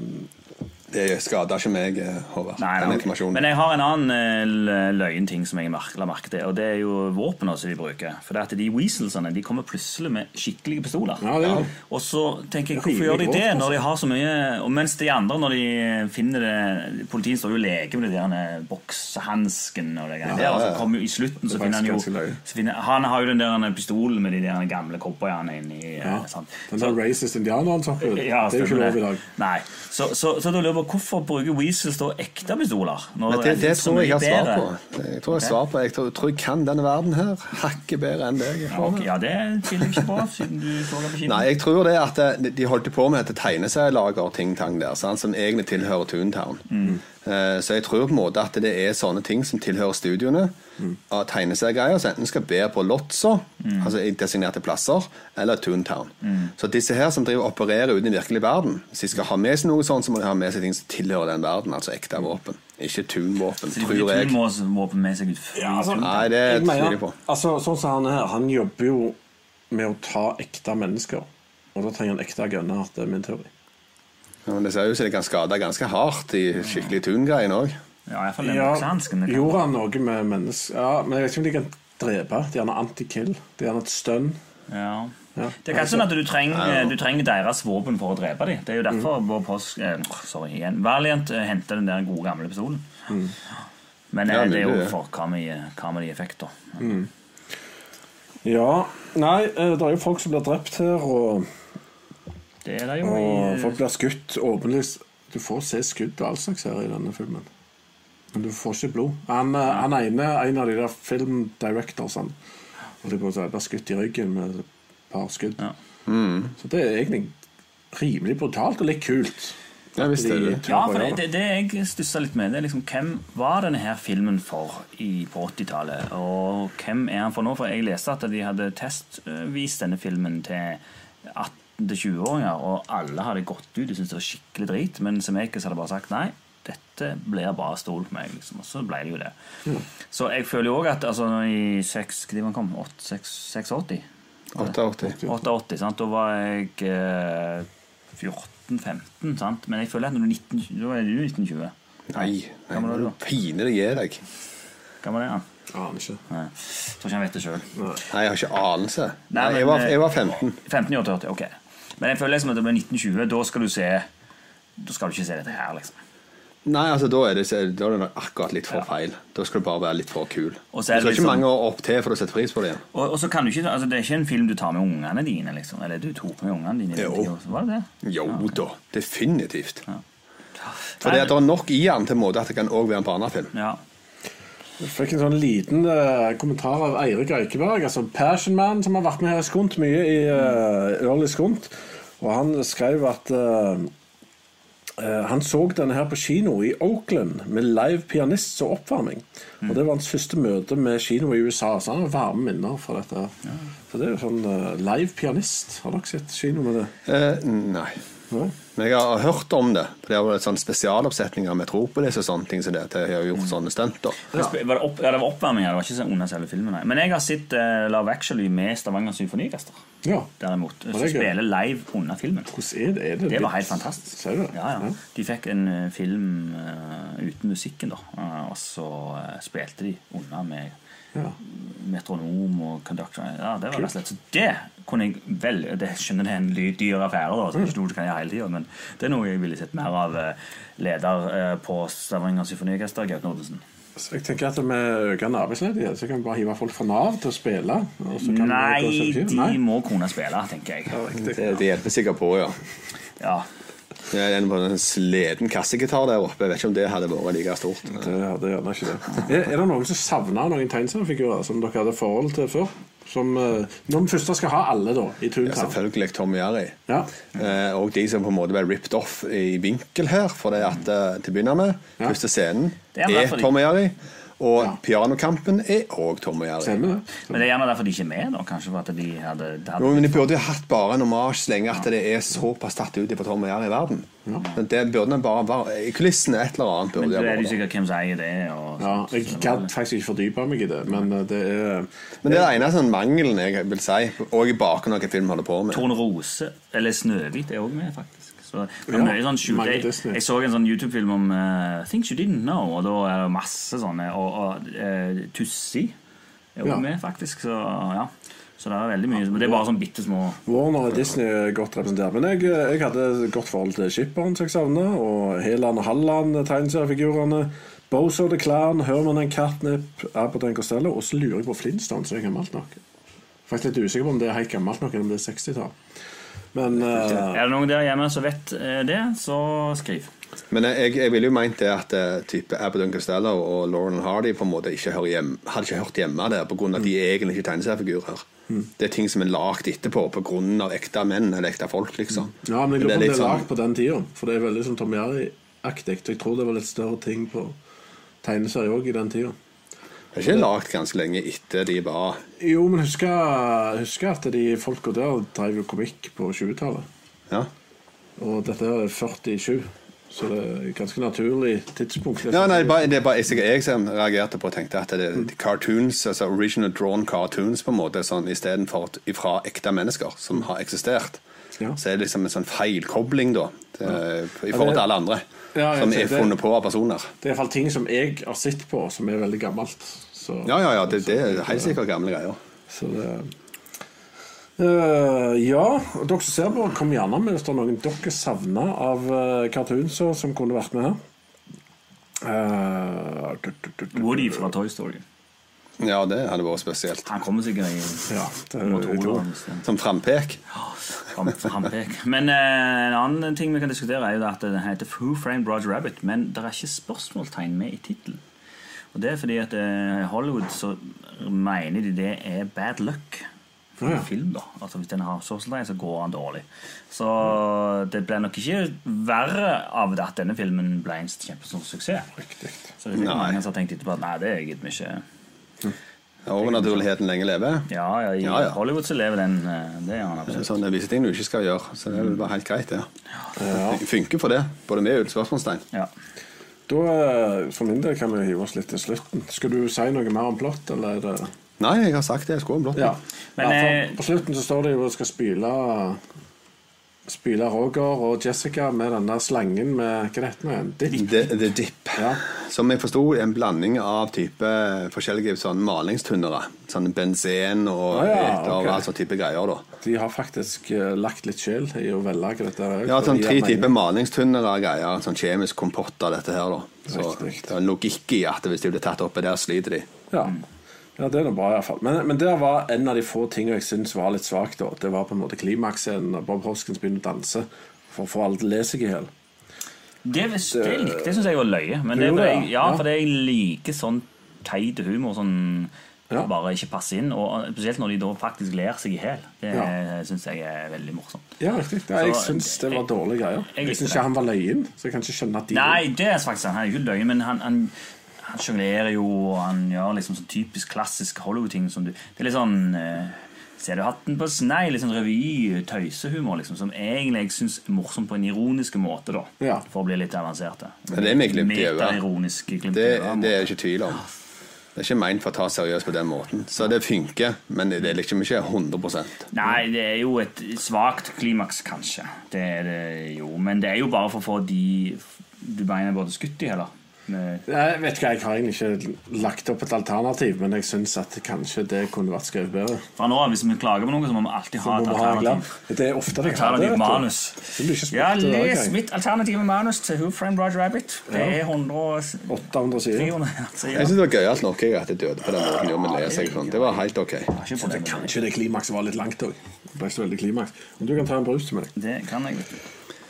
Speaker 8: Det skader ikke meg, eh, Håvard.
Speaker 7: Nei,
Speaker 8: Den
Speaker 7: nei, ok.
Speaker 8: informasjonen.
Speaker 7: Men jeg har en annen eh, l- løyen ting som jeg mer- la merke til, og det er jo våpnene som de bruker. For det at de weaselsene de kommer plutselig med skikkelige pistoler.
Speaker 6: Ja, det er det.
Speaker 7: Og så tenker jeg,
Speaker 6: Det er
Speaker 7: hvorfor gjør de
Speaker 6: rimelig
Speaker 7: det
Speaker 6: grovt,
Speaker 7: når de har så mye Og mens de andre, når de finner det Politiet står jo og leker med de der boksehansken og det
Speaker 8: Ja,
Speaker 7: greiene der, og
Speaker 8: ja,
Speaker 7: så
Speaker 8: ja.
Speaker 7: kommer jo i slutten, så
Speaker 6: Det er
Speaker 7: finner han jo
Speaker 6: faktisk ganske løye.
Speaker 7: så finner, Han har jo den der pistolen med de der gamle cowboyene inni ja. sant?
Speaker 6: Den
Speaker 7: Så-
Speaker 6: der racist indianeren som hoppet ut,
Speaker 7: ja,
Speaker 6: det er jo ikke
Speaker 7: stemmer
Speaker 6: lov i dag.
Speaker 7: Nei. Så, så, så da lurer jeg på hvorfor bruker Weasels da ekte pistoler? Når
Speaker 8: Men det, det
Speaker 7: finnes så
Speaker 8: tror jeg jeg
Speaker 7: mye
Speaker 8: har svar
Speaker 7: bedre?
Speaker 8: på. Jeg tror jeg, svar på. jeg tror, tror jeg kan denne verden her hakket bedre enn deg.
Speaker 7: Ja, ok, ja, det tviler jeg ikke på,
Speaker 8: <laughs>
Speaker 7: siden du så det på kino.
Speaker 8: Nei, jeg tror det at eh, de holdt på med dette tegneserielaget og ting-tang der, sant, som egentlig tilhører Toontown.
Speaker 7: Mm.
Speaker 8: Eh, Så jeg tror på en måte at det er sånne ting som tilhører studioene.
Speaker 7: Mm.
Speaker 8: Av tegneseriegreier som enten skal bære på Lotso, altså i designerte plasser, eller Toontown.
Speaker 7: Mm.
Speaker 8: Så disse her som driver og opererer uten i virkelig verden, hvis de skal ha med seg noe sånt, så må de ha med seg ting som tilhører den verden, altså ekte våpen. Ikke Toon-våpen,
Speaker 7: Så de
Speaker 8: tror
Speaker 7: de
Speaker 8: jeg.
Speaker 7: må også våpen med seg ut
Speaker 6: Ja, altså,
Speaker 8: Nei, det
Speaker 6: Jeg mener,
Speaker 8: tviler jeg på.
Speaker 6: Altså, sånn som han her, han jobber jo med å ta ekte mennesker. Og da trenger han ekte gunner, det er min teori.
Speaker 8: Ja, men Det ser jo ut som det kan skade ganske hardt i skikkelig tungreien òg.
Speaker 7: Ja, i hvert fall den boksehansken. det kan-
Speaker 6: gjorde han noe med mennesker Ja, men jeg vet ikke om de kan drepe. De har en anti-kill, de har et stønn.
Speaker 7: Ja.
Speaker 6: Ja.
Speaker 7: Det er kanskje sånn at du trenger, du trenger deres våpen for å drepe dem. Det er jo derfor vår post... Eh, sorry, igjen. Valiant eh, henter den der gode gamle pistolen. Men eh,
Speaker 8: Ja,
Speaker 7: det er jo
Speaker 8: mulig, ja.
Speaker 7: for hva med, hva med de effekter.
Speaker 6: Ja. Nei, eh, det er jo folk som blir drept her, og
Speaker 7: Det er det jo i
Speaker 6: Og folk blir skutt åpenlyst. Du får se skudd og all slags her i denne filmen. Men du får ikke blod. Han, eh, han ene en av de der film directors han holdt på å si, ble skutt i ryggen med et par skudd.
Speaker 7: Ja.
Speaker 8: Mm.
Speaker 6: Så det er egentlig rimelig brutalt og litt kult.
Speaker 8: Ja, visst er det.
Speaker 7: Ja, for det, det, det jeg stussa litt med, det er liksom hvem var denne her filmen for i, på 80-tallet? Og hvem er han for nå? For jeg leste at de hadde testvist denne filmen til 18-20-åringer, og alle hadde gått ut og syntes det var skikkelig drit, men Semekis hadde bare sagt nei. Dette blir bare stol på meg, liksom. Og så ble det jo det. Så jeg føler jo òg at altså, i seks, Når man kom? Åtte- seks- 86?
Speaker 8: 88.
Speaker 7: 88, sant? Da var jeg eh, 14-15, sant? Men jeg føler at når du er 19, da er du 1920.
Speaker 8: Nei, nei
Speaker 7: Gammel er du
Speaker 8: nå
Speaker 7: da?
Speaker 8: piner det gir deg.
Speaker 7: Gammel er han?
Speaker 6: Aner ikke.
Speaker 7: Nei. Jeg Tror ikke han vet det sjøl.
Speaker 8: Nei, jeg har ikke anelse. Nei,
Speaker 7: Nei, men,
Speaker 8: jeg, var,
Speaker 7: eh,
Speaker 8: jeg var 15.
Speaker 7: 15 i 88, ok. Men jeg føler liksom at når du er 1920, da skal du se Da skal du ikke se dette her, liksom.
Speaker 8: Nei, altså da er det, da er det nok akkurat litt for feil. Da skal du bare være litt for kul. Du
Speaker 7: Og så er
Speaker 8: skal
Speaker 7: det
Speaker 8: ikke
Speaker 7: liksom-
Speaker 8: mange år opp til for å sette pris på det igjen.
Speaker 7: Og, og så kan du ikke Altså, det er ikke en film du tar med ungene dine, liksom. Eller du tok med ungene dine. i den
Speaker 8: Jo.
Speaker 7: tiden også. Var det det?
Speaker 8: Jo da, definitivt. For
Speaker 7: Nei,
Speaker 8: det er nok i den til en måte at det kan også være en barnefilm.
Speaker 7: Ja.
Speaker 6: Jeg fikk en sånn liten eh, kommentar av Eirik Røykeberg, altså Passion Man, som har vært med her i Skunt mye i eh, Early Skunt. Og han skrev at eh, eh, han så denne her på kino i Oakland med live pianist som oppvarming.
Speaker 7: Mm.
Speaker 6: Og det var hans første møte med kino i USA, så han har varme minner fra dette. her. Så det er jo sånn eh, live pianist. Har dere sett kino med det?
Speaker 8: Eh, nei.
Speaker 6: Nei?
Speaker 8: Men jeg har hørt om det. For det har vært sånn spesialoppsetninger av Metropolis og sånne ting som det. til Jeg har
Speaker 7: Mm.
Speaker 8: gjort sånne stunt. da.
Speaker 7: Var det, opp, ja, det var oppvarming her, det var ikke sånn under selve filmen. Nei. Men jeg har sett eh, Love Actually med Stavanger Symfoniorkester.
Speaker 6: Ja.
Speaker 7: Derimot.
Speaker 6: det
Speaker 7: Som
Speaker 6: gøy?
Speaker 7: spiller live under filmen.
Speaker 6: Hvordan er det? Er det,
Speaker 7: Det var
Speaker 6: litt-
Speaker 7: helt fantastisk.
Speaker 6: Ser du det?
Speaker 7: Ja, ja. De fikk en eh, film eh, uten musikken, da. eh, og så eh, spilte de unna med
Speaker 6: Ja.
Speaker 7: metronom og conductor. Ja, det var rett og slett. Så det kunne jeg vel Det skjønner det er en ly- dyr affære, da. Så
Speaker 6: Mm.
Speaker 7: det er ikke noe du kan gjøre hele tiden, men det er noe jeg ville sett mer av eh, leder eh, på Stavanger Symfoniorkester, Gaute Nordensen.
Speaker 6: Så jeg tenker at Med økende arbeidsledighet så kan vi bare hive folk fra Nav til å spille. Og så kan vi gå og
Speaker 7: Nei,
Speaker 6: kjøpe film.
Speaker 7: de
Speaker 6: Nei.
Speaker 7: må kunne spille, tenker jeg.
Speaker 8: Det, det hjelper sikkert på, ja.
Speaker 7: Ja.
Speaker 8: Det er en, en sliten kassegitar der oppe. Jeg vet ikke om det hadde vært like stort.
Speaker 6: Det hadde gjerne ikke det. Er, er det noen som savner noen tegneseriefigurer som dere hadde forhold til før? Som, eh, når vi først skal ha alle, da,
Speaker 8: Ja,
Speaker 6: i Toontown.
Speaker 8: selvfølgelig Tom Jerry.
Speaker 6: Ja.
Speaker 8: Eh, og de som på en måte ble ripped off i vinkel her, for det at eh, til å begynne med
Speaker 6: Ja.
Speaker 8: Første scenen
Speaker 7: Det er
Speaker 8: er,
Speaker 7: vel derfor de-
Speaker 8: Tom og Jerry, og
Speaker 6: Ja.
Speaker 8: pianokampen er òg Tom og Jerry.
Speaker 6: Stemmer det?
Speaker 7: Men det er gjerne derfor de ikke er med, da. Kanskje for at de hadde, de
Speaker 8: Jo,
Speaker 7: hadde
Speaker 8: men De burde jo hatt bare en hommage så lenge at det er såpass tatt ut fra Tom og Jerry i verden. Men Det burde den bare være I kulissene et eller annet.
Speaker 7: Men
Speaker 8: burde
Speaker 7: da
Speaker 8: det
Speaker 7: er det
Speaker 8: være
Speaker 7: jo sikkert hvem som eier det. Og
Speaker 6: Ja, jeg gadd faktisk ikke fordype meg i det, men eh, det er
Speaker 8: Men det er den eneste sånn mangelen jeg vil si, og i bakgrunnen av hva filmen holder på med.
Speaker 7: Torn Rose, eller Snøhvit, er òg med, faktisk. Så, det er
Speaker 6: Ja,
Speaker 7: mye sånn skjult.
Speaker 6: mange
Speaker 7: jeg,
Speaker 6: Disney.
Speaker 7: jeg så en sånn YouTube-film om eh, Things You Didn't Know, og da er det masse sånne. Og, og eh, Tussi er òg
Speaker 6: Ja.
Speaker 7: med, faktisk. Så ja. Så det er veldig mye. Men det er bare sånn bitte små
Speaker 6: Warner og Disney er godt representert. Men jeg, jeg hadde et godt forhold til Skipperen, som jeg savner, og Heland og Halland, tegneseriefigurene. Bozo the Clan, Herman and Catnip, Abbott and Costello, og så lurer jeg på Flintstone, som er gammelt nok. Faktisk litt usikker på om det er helt gammelt nok, eller om det er 60-tall. Men eh,
Speaker 7: Er det noen der hjemme som vet eh, det, så skriv.
Speaker 8: Men jeg, jeg ville jo meint det at eh, type Abbott Costello og Lauren Hardy på en måte ikke hører hjem, hadde ikke hørt hjemme der pga. at de er egentlig ikke tegneseriefigurer.
Speaker 6: Mm.
Speaker 8: Det er ting som er lagd etterpå pga. ekte menn eller ekte folk, liksom.
Speaker 6: eh, Mm. ja, men
Speaker 8: Men
Speaker 6: jeg lurer på om det
Speaker 8: litt
Speaker 6: er lagd
Speaker 8: sånn-
Speaker 6: på den tida, for det er veldig som Tom Jerry-aktig. Jeg tror det var litt større ting på tegneserier òg i den tida.
Speaker 8: Det er ikke lagd ganske lenge etter de var
Speaker 6: Jo, men husker husker at de folka der drev jo komikk på 20-tallet.
Speaker 8: ja.
Speaker 6: Og dette her er 47, så det er et ganske naturlig tidspunkt.
Speaker 8: ja, nei, bare- Det er bare jeg, jeg som reagerte på og tenkte at det
Speaker 6: Mm.
Speaker 8: er cartoons, altså original drawn cartoons på en måte, sånn, istedenfor fra ekte mennesker som har eksistert.
Speaker 6: Ja.
Speaker 8: Så er det liksom en sånn feilkobling, da, til- i
Speaker 6: Ja, det-
Speaker 8: forhold til alle andre.
Speaker 6: Ja, jeg
Speaker 8: som
Speaker 6: ser
Speaker 8: er
Speaker 6: det.
Speaker 8: funnet på av personer.
Speaker 6: Det er iallfall ting som jeg har sett på, som er veldig gammelt. Så,
Speaker 8: Ja, ja, ja, det, det er helt sikkert gamle greier.
Speaker 6: så det Eh, ja, og dere som ser på, kom gjerne med hvis det er noen dere savner av uh, cartoonser som kunne vært med her. Eh, du- du- du- du-
Speaker 7: Woody fra Toy Story.
Speaker 8: Ja, det hadde vært spesielt.
Speaker 7: Han kommer sikkert i
Speaker 6: Ja, det er
Speaker 7: nummer to.
Speaker 6: jeg tror.
Speaker 7: eller noe sånt.
Speaker 8: Som frampek.
Speaker 7: Fram- Frampek. Men eh, en annen ting vi kan diskutere, er jo at den heter Who Framed Roger Rabbit, men det er ikke spørsmålstegn med i tittelen. Og det er fordi at eh, Hollywood så mener de det er bad luck for en
Speaker 6: Ja.
Speaker 7: film. da Altså Hvis den har spørsmålstegn, så går den dårlig. Så det ble nok ikke verre av det at denne filmen ble en kjempestor suksess. Så det er sikkert
Speaker 8: Nei.
Speaker 7: mange som har tenkt etterpå at nei, det gidder vi ikke.
Speaker 8: Overnaturligheten lenge leve.
Speaker 7: Ja, ja, I
Speaker 8: Ja, ja.
Speaker 7: Hollywood så lever den. eh, Det gjør han absolutt.
Speaker 8: Sånn, det er visse ting du ikke skal gjøre. Så det er vel bare helt greit, det. Det funker for det. Både med og uten spørsmålstegn.
Speaker 7: Ja.
Speaker 6: Da, eh, for min del kan vi hive oss litt til slutten. Skal du si noe mer om plott, eller er det
Speaker 8: Nei, jeg har sagt det. Jeg skulle om blått.
Speaker 6: Ja.
Speaker 7: Men,
Speaker 6: ja,
Speaker 7: eh,
Speaker 6: for på slutten så står det jo at skal spyle Spyle Roger og Jessica med den der slangen med Hva det heter det? En dipp?
Speaker 8: The, the Dip.
Speaker 6: Ja.
Speaker 8: Som jeg forsto, er en blanding av type forskjellige sånn malingstunnere. Sånn benzen og
Speaker 6: Ah, ja,
Speaker 8: eter og
Speaker 6: ok.
Speaker 8: all sånn type greier. da
Speaker 6: De har faktisk eh, lagt litt sjel i å velge dette. her.
Speaker 8: Ja, sånn
Speaker 6: Fordi
Speaker 8: tre
Speaker 6: jeg mener-
Speaker 8: typer malingstunnere og greier. Sånn kjemisk kompott av dette her, da. Så
Speaker 6: Riktig.
Speaker 8: det er en logikk i at hvis de blir tatt oppi der, sliter de.
Speaker 6: Ja. ja, det er nå bra iallfall. Men, men der var en av de få tingene jeg syns var litt svakt. da. Det var på en måte klimaksscenen da Bob Hoskins begynner å danse for å få alle til å le seg i hjel.
Speaker 7: Det, vis- det likte jeg, syns jeg var løye. Men
Speaker 6: Du
Speaker 7: det,
Speaker 6: gjorde
Speaker 7: var
Speaker 6: det,
Speaker 7: jeg, ja,
Speaker 6: ja.
Speaker 7: for jeg liker sånn teit humor som
Speaker 6: Ja.
Speaker 7: bare ikke passer inn. Og Spesielt når de da faktisk ler seg i hjel. Det
Speaker 6: Ja.
Speaker 7: syns jeg er veldig morsomt.
Speaker 6: Ja, riktig. Ja, jeg
Speaker 7: Så-
Speaker 6: syns det var dårlige greier.
Speaker 7: Jeg
Speaker 6: Jeg,
Speaker 7: likte det.
Speaker 6: syns ikke han var løyen, så jeg kan ikke skjønne at de
Speaker 7: Nei, det er faktisk han. Han er jo ikke løgn, men han, han, han sjonglerer jo, og han gjør liksom sånn typisk klassisk Hollywood-ting som du Det er litt sånn eh, Ser du hatten på snei? Litt sånn revy-tøysehumor, liksom, som egentlig jeg syns er morsomt på en ironisk måte, da.
Speaker 6: Ja.
Speaker 7: For å bli litt avanserte.
Speaker 8: Men det er med glimt i øyet.
Speaker 7: Metaironisk glimt i
Speaker 8: Det,
Speaker 7: øyet.
Speaker 8: det er det ikke tvil om. Det er ikke meint for å ta seriøst på den måten. Så det funker, men det er liksom ikke 100
Speaker 7: Nei, det er jo et svakt klimaks, kanskje. Det er det jo. Men det er jo bare for å få de du mener både skutt i, heller. Med-
Speaker 6: Jeg vet ikke, jeg har egentlig ikke lagt opp et alternativ, men jeg syns at kanskje det kunne vært skrevet bedre.
Speaker 7: Fra nå av, hvis vi klager på noe, så må vi alltid ha
Speaker 6: Må
Speaker 7: et
Speaker 6: vi ha en glad-
Speaker 7: alternativ.
Speaker 6: Det er ofte jeg har det.
Speaker 7: Alternativ
Speaker 6: vet du.
Speaker 7: manus.
Speaker 6: Så blir ikke spurt
Speaker 7: Ja,
Speaker 6: det hver
Speaker 7: les
Speaker 6: gang.
Speaker 7: mitt alternative manus til Who Framed Roger Rabbit. Det er 100
Speaker 6: 800 sider.
Speaker 7: <laughs> 300
Speaker 8: Jeg
Speaker 7: sider.
Speaker 8: syns det var gøyalt nok jeg at jeg døde på den måten. Jo, men det, er seg sånn. det var helt ok.
Speaker 7: Ikke
Speaker 6: Så
Speaker 7: problem.
Speaker 6: det kanskje det klimakset var litt langt òg. Det ble ikke så veldig klimaks. Men du kan ta en brus til meg.
Speaker 7: Det kan jeg. vet du.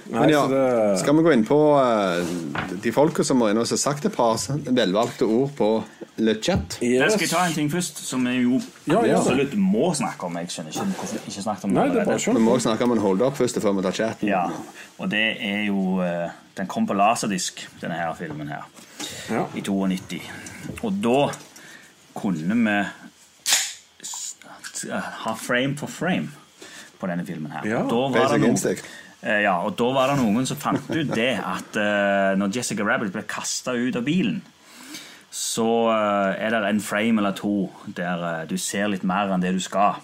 Speaker 6: Nei,
Speaker 8: Men ja,
Speaker 6: så det-
Speaker 8: skal vi gå inn på eh, de folka som var inne og har sagt et par velvalgte ord på Le Chat?
Speaker 7: Jeg
Speaker 6: Yes.
Speaker 7: skal ta en ting først, som jeg jo
Speaker 6: Ja, gjør det.
Speaker 7: absolutt må snakke om. Jeg skjønner ikke hvorfor vi ikke snakket om
Speaker 6: Nei, det er
Speaker 7: allerede.
Speaker 6: bare
Speaker 8: Vi
Speaker 6: skjønt.
Speaker 8: må også snakke om en hold-up først før vi tar chatten.
Speaker 7: Ja, og det er jo eh, Den kom på laserdisk, denne her filmen her,
Speaker 6: Ja.
Speaker 7: i 92. Og da kunne vi s- t- ha frame for frame på denne filmen her.
Speaker 6: Ja,
Speaker 7: Og da var det
Speaker 8: Basic
Speaker 7: noen-
Speaker 8: instinct.
Speaker 7: Eh, Ja, og da var det noen som fant ut det at eh, når Jessica Rabbit ble kasta ut av bilen, så eh, er det en frame eller to der eh, du ser litt mer enn det du skal.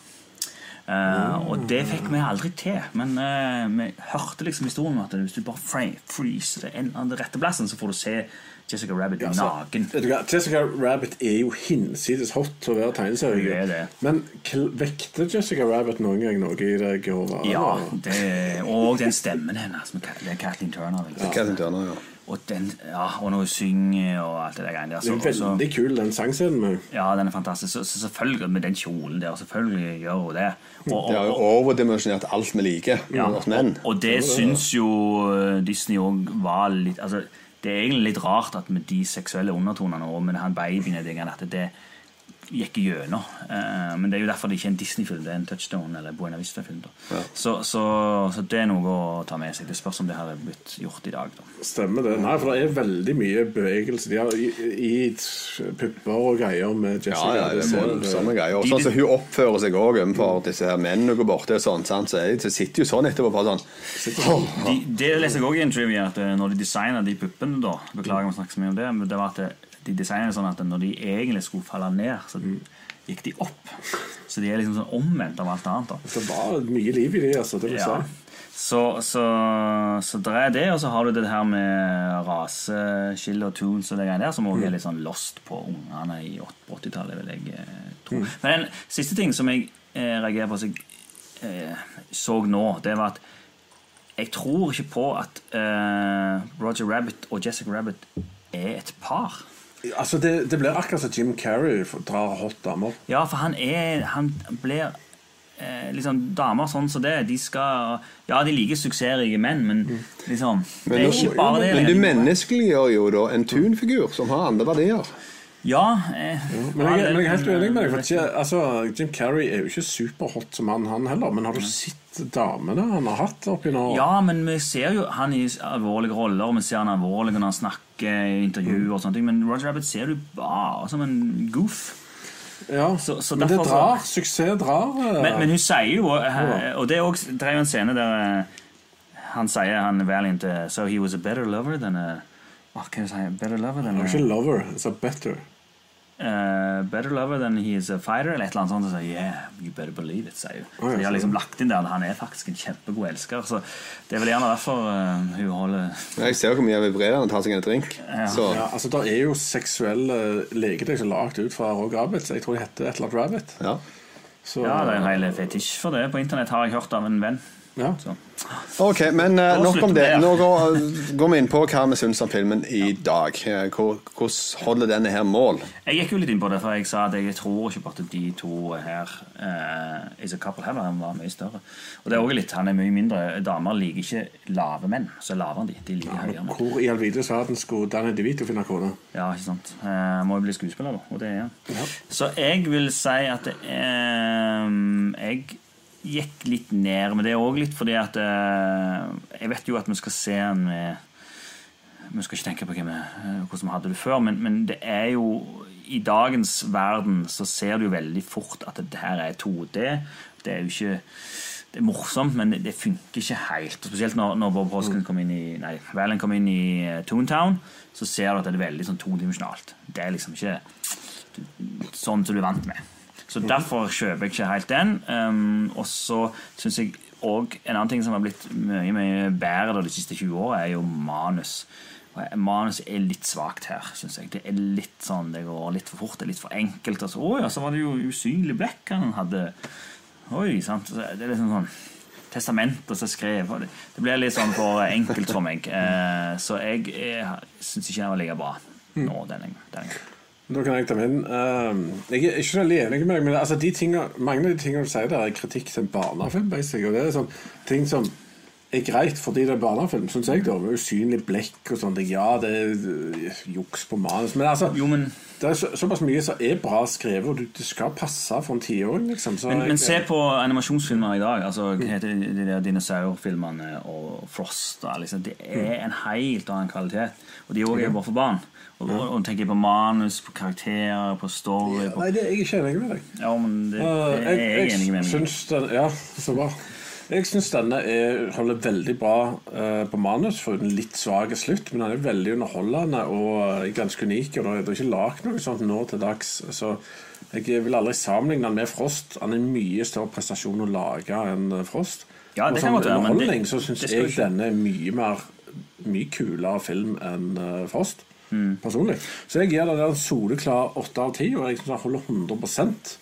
Speaker 7: Eh, Og det fikk vi aldri til, men eh, vi hørte liksom historien om at hvis du bare frame, freezer det en av den rette plassen, så får du se Jessica Rabbit
Speaker 6: Ja, så-
Speaker 7: naken.
Speaker 6: Vet du hva, Jessica Rabbit er jo hinsides hot til å være
Speaker 7: Hun er
Speaker 6: tegneserie.
Speaker 7: det.
Speaker 6: Men kl- vekte Jessica Rabbit noen gang noe i det grå været?
Speaker 7: Ja, det, og den stemmen hennes. med Ka- Det er Kathleen Turner. vel?
Speaker 8: Catherine Turner, ja.
Speaker 7: Og, den, ja, og når hun synger og alt det der greiene der.
Speaker 6: Det
Speaker 7: så-
Speaker 6: er
Speaker 7: og så-
Speaker 6: veldig kul, den sangscenen med
Speaker 7: Ja, den er fantastisk. Så, så selvfølgelig med den kjolen der, selvfølgelig gjør hun det. Og, og,
Speaker 8: De har jo
Speaker 7: og,
Speaker 8: overdimensjonert alt vi liker,
Speaker 7: ja,
Speaker 8: oss menn.
Speaker 7: og det syns jo eh, Disney òg var litt altså, Det er egentlig litt rart at med de seksuelle undertonene og med han babyen og det greiene at det gikk gjennom. Eh, men det er jo derfor det ikke er en Disney-film, det er en Touchstone eller Buena Vista-film. da. Så, så, så det er noe å ta med seg. Det spørs om det her er blitt gjort i dag. da.
Speaker 6: Stemmer det. Nei, for det er veldig mye bevegelse. De har i, i t- pupper og greier med
Speaker 8: Ja,
Speaker 6: Jessica.
Speaker 8: ja, det er
Speaker 6: ser-
Speaker 8: voldsomme greier. Og sånn som hun oppfører seg òg overfor disse her mennene hun går borti og sånn, sant? så er de- så sitter jo sånn etterpå bare sånn «Åh,
Speaker 7: de, det leser jeg også i en trivia at eh, når de designer de puppene da, Beklager om jeg snakker så mye om det, men det var at eh, de designer sånn at når de egentlig skulle falle ned, så gikk de opp. Så de er liksom sånn omvendt av alt annet. da.
Speaker 6: Det var mye liv i de, altså. Det vil jeg
Speaker 7: Ja.
Speaker 6: si.
Speaker 7: Så, så, så der er det, og så har du det her med raseskille og tunes og det greiene der, som også er litt sånn lost på ungene i åt- på 80-tallet, vil jeg eh, tro. Men en siste ting som jeg eh, reagerer på, som jeg eh, så nå, det var at jeg tror ikke på at eh, Roger Rabbit og Jessica Rabbit er et par.
Speaker 6: Altså, det, det blir akkurat som Jim Carrey f- drar hot damer.
Speaker 7: Ja, for han er Han blir eh, liksom Damer sånn som det, de skal Ja, de liker suksessrike menn, men
Speaker 6: Mm.
Speaker 7: liksom Det er
Speaker 8: nå-
Speaker 7: ikke bare det.
Speaker 8: men du
Speaker 7: lenger.
Speaker 8: menneskeliggjør jo da en tunfigur som har andre verdier.
Speaker 7: Ja. Eh,
Speaker 6: Men
Speaker 7: ja,
Speaker 6: jeg, men jeg er helt
Speaker 7: det-
Speaker 6: uenig med deg. For ikke, altså, Jim Carrey er jo ikke superhot som han, han heller. Men har du sett damene han har hatt oppi nå?
Speaker 7: Mm. Ja, men vi ser jo han i alvorlige roller, og vi ser han alvorlig når han snakker i
Speaker 6: Mm.
Speaker 7: intervjuer og sånne ting, men Roger Rabbit ser du bare som en goof.
Speaker 6: Ja,
Speaker 7: Så- så
Speaker 6: men det
Speaker 7: derfor så-
Speaker 6: drar. Suksess drar. eh,
Speaker 7: Men, men hun sier jo eh, Og det er også, det er jo en scene der eh, han sier han Valiant eh, So he was a better lover than a Hva kan jeg si? Better lover than
Speaker 6: det
Speaker 7: a
Speaker 6: er ikke lover, it's a better.
Speaker 7: eh, Better lover than he is a fighter, eller et eller annet sånt. Og sier, yeah, you better believe it, sier hun.
Speaker 6: ja,
Speaker 7: Så de har
Speaker 6: så-
Speaker 7: liksom lagt inn der at han er faktisk en kjempegod elsker. Så det er vel gjerne derfor eh, hun holder
Speaker 8: Jeg ser hvor mye jeg vibrerer når han tar seg en drink. Så
Speaker 6: Ja, altså, Det er jo seksuelle leketøy som er lagd ut fra Roger Rabbit. Jeg tror de heter et eller annet Rabbit.
Speaker 8: ja.
Speaker 6: Så,
Speaker 7: Ja, det er en hel fetisj for det. På internett har jeg hørt av en venn.
Speaker 6: ja.
Speaker 7: Så.
Speaker 8: Ok, men eh,
Speaker 7: Da
Speaker 8: nok
Speaker 7: slutter
Speaker 8: om det.
Speaker 7: vi her.
Speaker 8: Nå
Speaker 7: <laughs>
Speaker 8: går, eh, går vi inn på hva vi syns om filmen i dag. Eh, hvor- Hvordan holder denne her mål?
Speaker 7: Jeg gikk jo litt inn på det, for jeg sa at jeg tror ikke på at de to her eh, is a couple heller. Han var mye større. Og det er også litt, han er mye mindre. Damer liker ikke lave menn. Så er lavere enn de. De liker høyere menn.
Speaker 6: Hvor i all vides verden skulle Danny DeVito finne kone?
Speaker 7: Ja, ikke sant. Eh, må jo bli skuespiller, da. Og det er han. Så jeg vil si at eh, jeg gikk litt ned med det òg, litt fordi at eh, Jeg vet jo at vi skal se en med Vi skal ikke tenke på hvem, eh, hvordan vi hadde det før, men, men det er jo I dagens verden så ser du jo veldig fort at det her er 2D. Det er jo ikke det er morsomt, men det, det funker ikke helt. Og Spesielt når, når Bob Hoskin kom inn i Nei, Valen kom inn i eh, Toontown, så ser du at det er veldig sånn todimensjonalt. Det er liksom ikke sånn som du er vant med. Så derfor kjøper jeg ikke helt den. Um, og så syns jeg òg en annen ting som har blitt mye mye bedre da de siste 20 åra, er jo manus. Og jeg- Manus er litt svakt her, syns jeg. Det er litt sånn, det går litt for fort, det er litt for enkelt. Og så, å ja, så var det jo usynlig blekk han hadde. Oi, sant. Så Det er liksom sånn testament og så skrev og det, det blir litt sånn for enkelt for meg. Eh, så jeg, jeg syns ikke den var like bra nå, den gangen. den gangen.
Speaker 6: Da kan jeg ta min. Ehm, jeg er ikke så veldig enig med deg, men altså, de tingene, mange av de tingene du sier der, er kritikk til en barnefilm. Basic, og det er sånn ting som er greit fordi det er barnefilm, syns jeg. da med Usynlig blekk og sånne ting. Ja, det er øh, juks på manus, men altså
Speaker 7: Jo, men-
Speaker 6: Det er så, såpass mye som er bra skrevet, og du, det skal passe for en tiåring, liksom. Så
Speaker 7: Men,
Speaker 6: jeg-
Speaker 7: men se på animasjonsfilmer i dag. Altså, hva heter de- de der dinosaurfilmene og Frost og liksom. Det er en helt annen kvalitet. Og de også er jo bare for barn. Og, og, og tenker jeg på manus, på karakterer, på story på,
Speaker 6: Nei, det er jeg ikke enig med deg.
Speaker 7: Ja, men det,
Speaker 6: Eh,
Speaker 7: det er jeg enig med. meg i.
Speaker 6: syns den, ja, så bra. Jeg syns denne er, holder veldig bra eh, på manus, for en litt svak slutt. Men den er veldig underholdende og eh, ganske unik. Og det er- det er ikke lagd noe sånt nå til dags. Så jeg vil aldri sammenligne den med Frost. Han er en mye større prestasjon å lage enn eh, Frost.
Speaker 7: Ja, det
Speaker 6: og
Speaker 7: kan
Speaker 6: som
Speaker 7: godt være, men det-
Speaker 6: underholdning så syns
Speaker 7: det skal
Speaker 6: jeg
Speaker 7: ikke-
Speaker 6: denne er mye mer Mye kulere film enn eh, Frost.
Speaker 7: Mm.
Speaker 6: Personlig. Så jeg gir den en soleklar åtte av ti, og jeg syns den holder 100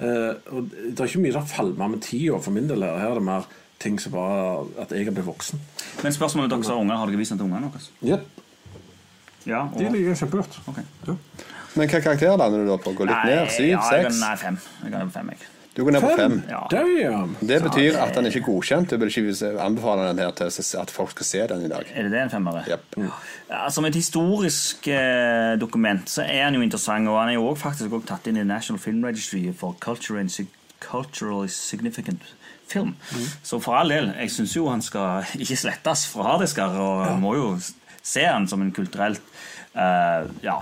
Speaker 6: Eh, og Det er ikke mye som falmer med tida for min del. her. Her er det mer ting som bare at jeg har blitt voksen.
Speaker 7: Men spørsmålet dere som har unger, har dere vist den til ungene deres? Ja, og,
Speaker 6: De liker jeg kjempegodt.
Speaker 7: Ok.
Speaker 6: Ja.
Speaker 8: Men hva karakter lander du da på? Gå litt ned? Syv?
Speaker 7: ja, jeg,
Speaker 8: seks?
Speaker 7: nei, fem. Jeg kan ha fem, jeg.
Speaker 8: Du går ned på fem.
Speaker 7: Ja.
Speaker 6: Damn!
Speaker 8: Det betyr at den ikke er godkjent. Du burde ikke anbefale den her til at folk skal se den i dag.
Speaker 7: Er det det en femmere?
Speaker 8: Japp.
Speaker 7: Ja, som et historisk eh, dokument så er han jo interessant, og han er jo også faktisk også tatt inn i National Film Registry for Culture and Sig- Culturally Significant Film.
Speaker 8: Mm.
Speaker 7: Så for all del, jeg syns jo han skal <laughs> ikke slettes fra harddisker, og må jo s- se han som en kulturelt eh, ja,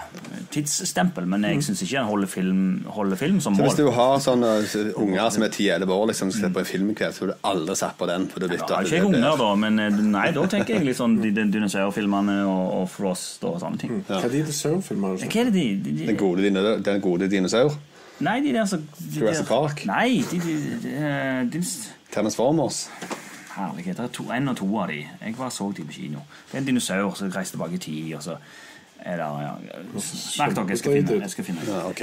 Speaker 7: tidsstempel, men jeg syns ikke han holder film, holder film som
Speaker 8: Mm. Så hvis
Speaker 7: mål.
Speaker 8: du har sånne uh, unger som er 10-11 år liksom, som ser på en filmkveld, så ville du aldri satt på den. For du vet
Speaker 7: Ja,
Speaker 8: at
Speaker 7: jeg har
Speaker 8: det
Speaker 7: ikke jeg
Speaker 8: er Mm. bedre.
Speaker 7: unger, da, men eh, nei, da tenker jeg litt
Speaker 8: <laughs>
Speaker 7: sånn de, de dinosaurfilmene og, og Frost og sånne ting.
Speaker 6: Hva er de dessverre-filmer?
Speaker 7: Hva er det de, de, de
Speaker 8: Mm. Den gode, dino- den gode dinosaur.
Speaker 7: Nei, de der som de
Speaker 8: Jurassic
Speaker 7: der-
Speaker 8: Park?
Speaker 7: Nei, de, de, de, de, de
Speaker 8: Transformers.
Speaker 7: Herlighet, det er to, en og to av de. Jeg bare så de på kino. Det er en dinosaur som reiser tilbake i tid, og så er det ja. Snakk dere, jeg skal finne jeg skal finne det.
Speaker 8: Ja, ok.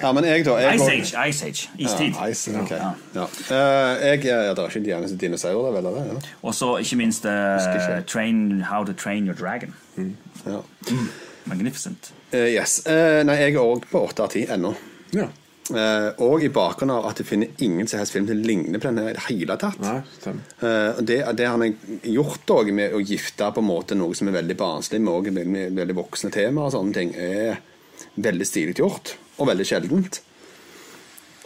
Speaker 8: Ja, men jeg, da jeg
Speaker 7: Ice
Speaker 8: går-
Speaker 7: Age, Ice Age, istid.
Speaker 8: Ja, Ice, ok.
Speaker 7: Ja.
Speaker 8: Ja. Eh, jeg ja, det er ikke en djerne- dinosaur, det er vel det? Ja.
Speaker 7: Og så ikke minst eh,
Speaker 8: Husker ikke.
Speaker 7: train, How to Train Your Dragon.
Speaker 8: Ja.
Speaker 7: Magnificent.
Speaker 8: Eh, yes. Eh, nei, jeg er òg på åtte av ti ennå.
Speaker 6: Ja.
Speaker 8: Eh, og i bakgrunn av at du finner ingen som helst film som ligner på denne i det hele tatt.
Speaker 6: Nei, stemmer.
Speaker 8: Eh, og det, det har han gjort også med å gifte på en måte noe som er veldig barnslig med, også veldig, med veldig voksne temaer og sånne ting, er veldig stilig gjort, og veldig sjeldent.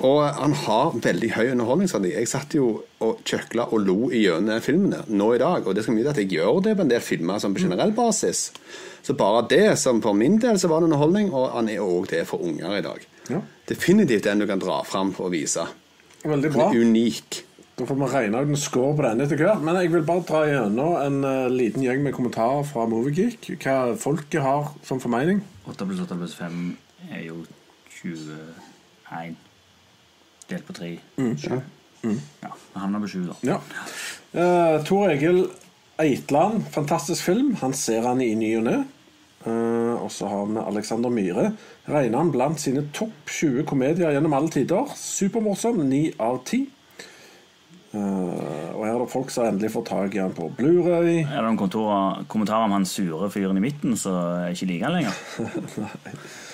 Speaker 8: Og han har veldig høy underholdningsverdi. Jeg satt jo og kjøkla og lo i gjennom den filmen der, nå i dag, og det skal mye til at jeg gjør det på en del filmer sånn på generell basis. Så bare det, som for min del, så var det underholdning, og han er òg det for unger i dag.
Speaker 6: Ja.
Speaker 8: Definitivt en du kan dra fram og vise.
Speaker 6: Veldig bra.
Speaker 8: Han er unik.
Speaker 6: Da får vi regne ut en score på denne etter hvert. Men jeg vil bare dra gjennom en eh, liten gjeng med kommentarer fra Moviegeek. Hva folket har som formening.
Speaker 7: 8 pluss 8 pluss 5 er jo 21. Delt på 3.
Speaker 8: Mm.
Speaker 7: 7. Ja, vi havner på 7, da.
Speaker 6: Ja. Eh, Tor Egil Eitland, fantastisk film. Han ser han i ny og ne. Eh, og så har vi Alexander Myhre. Regner han blant sine topp 20 komedier gjennom alle tider. Supermorsom. 9 av 10. Eh, og her er det folk som endelig får tak i han på Blu-ray
Speaker 7: Er det noen kontorer, kommentarer om han sure fyren i midten som jeg ikke liker han lenger?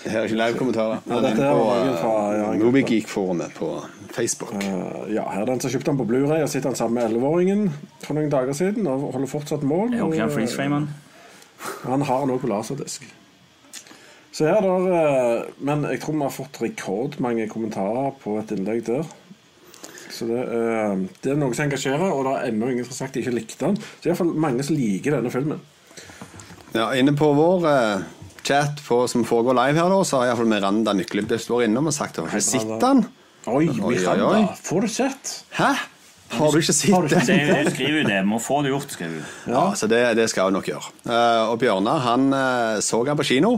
Speaker 8: Det her er ikke live-kommentarer.
Speaker 6: Nei, dette her var noen fra- ja, en gruppe.
Speaker 8: Moviegeek-forumet på Facebook.
Speaker 6: Eh, Ja, her er den som kjøpte den på Blu-ray og sitter han sammen med 11-åringen for noen dager siden og holder fortsatt mål.
Speaker 7: Jeg håper ikke han
Speaker 6: Og, eh,
Speaker 7: freeze-framer han.
Speaker 6: Han har den også på laserdisk. Så her der, eh, Men jeg tror vi har fått rekordmange kommentarer på et innlegg der. Så det, eh, det er noe som engasjerer, og det er ennå ingen som har sagt de ikke likte den. Så i hvert fall mange som liker denne filmen.
Speaker 8: Ja, inne på vår eh, chat på, som foregår live her, da, så har iallfall Miranda Myklebust vært innom og sagt at hun ikke sett den.
Speaker 6: Oi,
Speaker 8: oi,
Speaker 6: Miranda,
Speaker 8: oi.
Speaker 6: får du sett?
Speaker 8: Hæ? Har du ikke
Speaker 6: Har du
Speaker 8: sett
Speaker 6: ikke
Speaker 8: den?
Speaker 6: sett?
Speaker 7: Skriv skriver jo det. Må få det gjort, skriver hun.
Speaker 8: <laughs> Ja, så det, det skal hun nok gjøre. Eh, og Bjørnar han eh, så han på kino.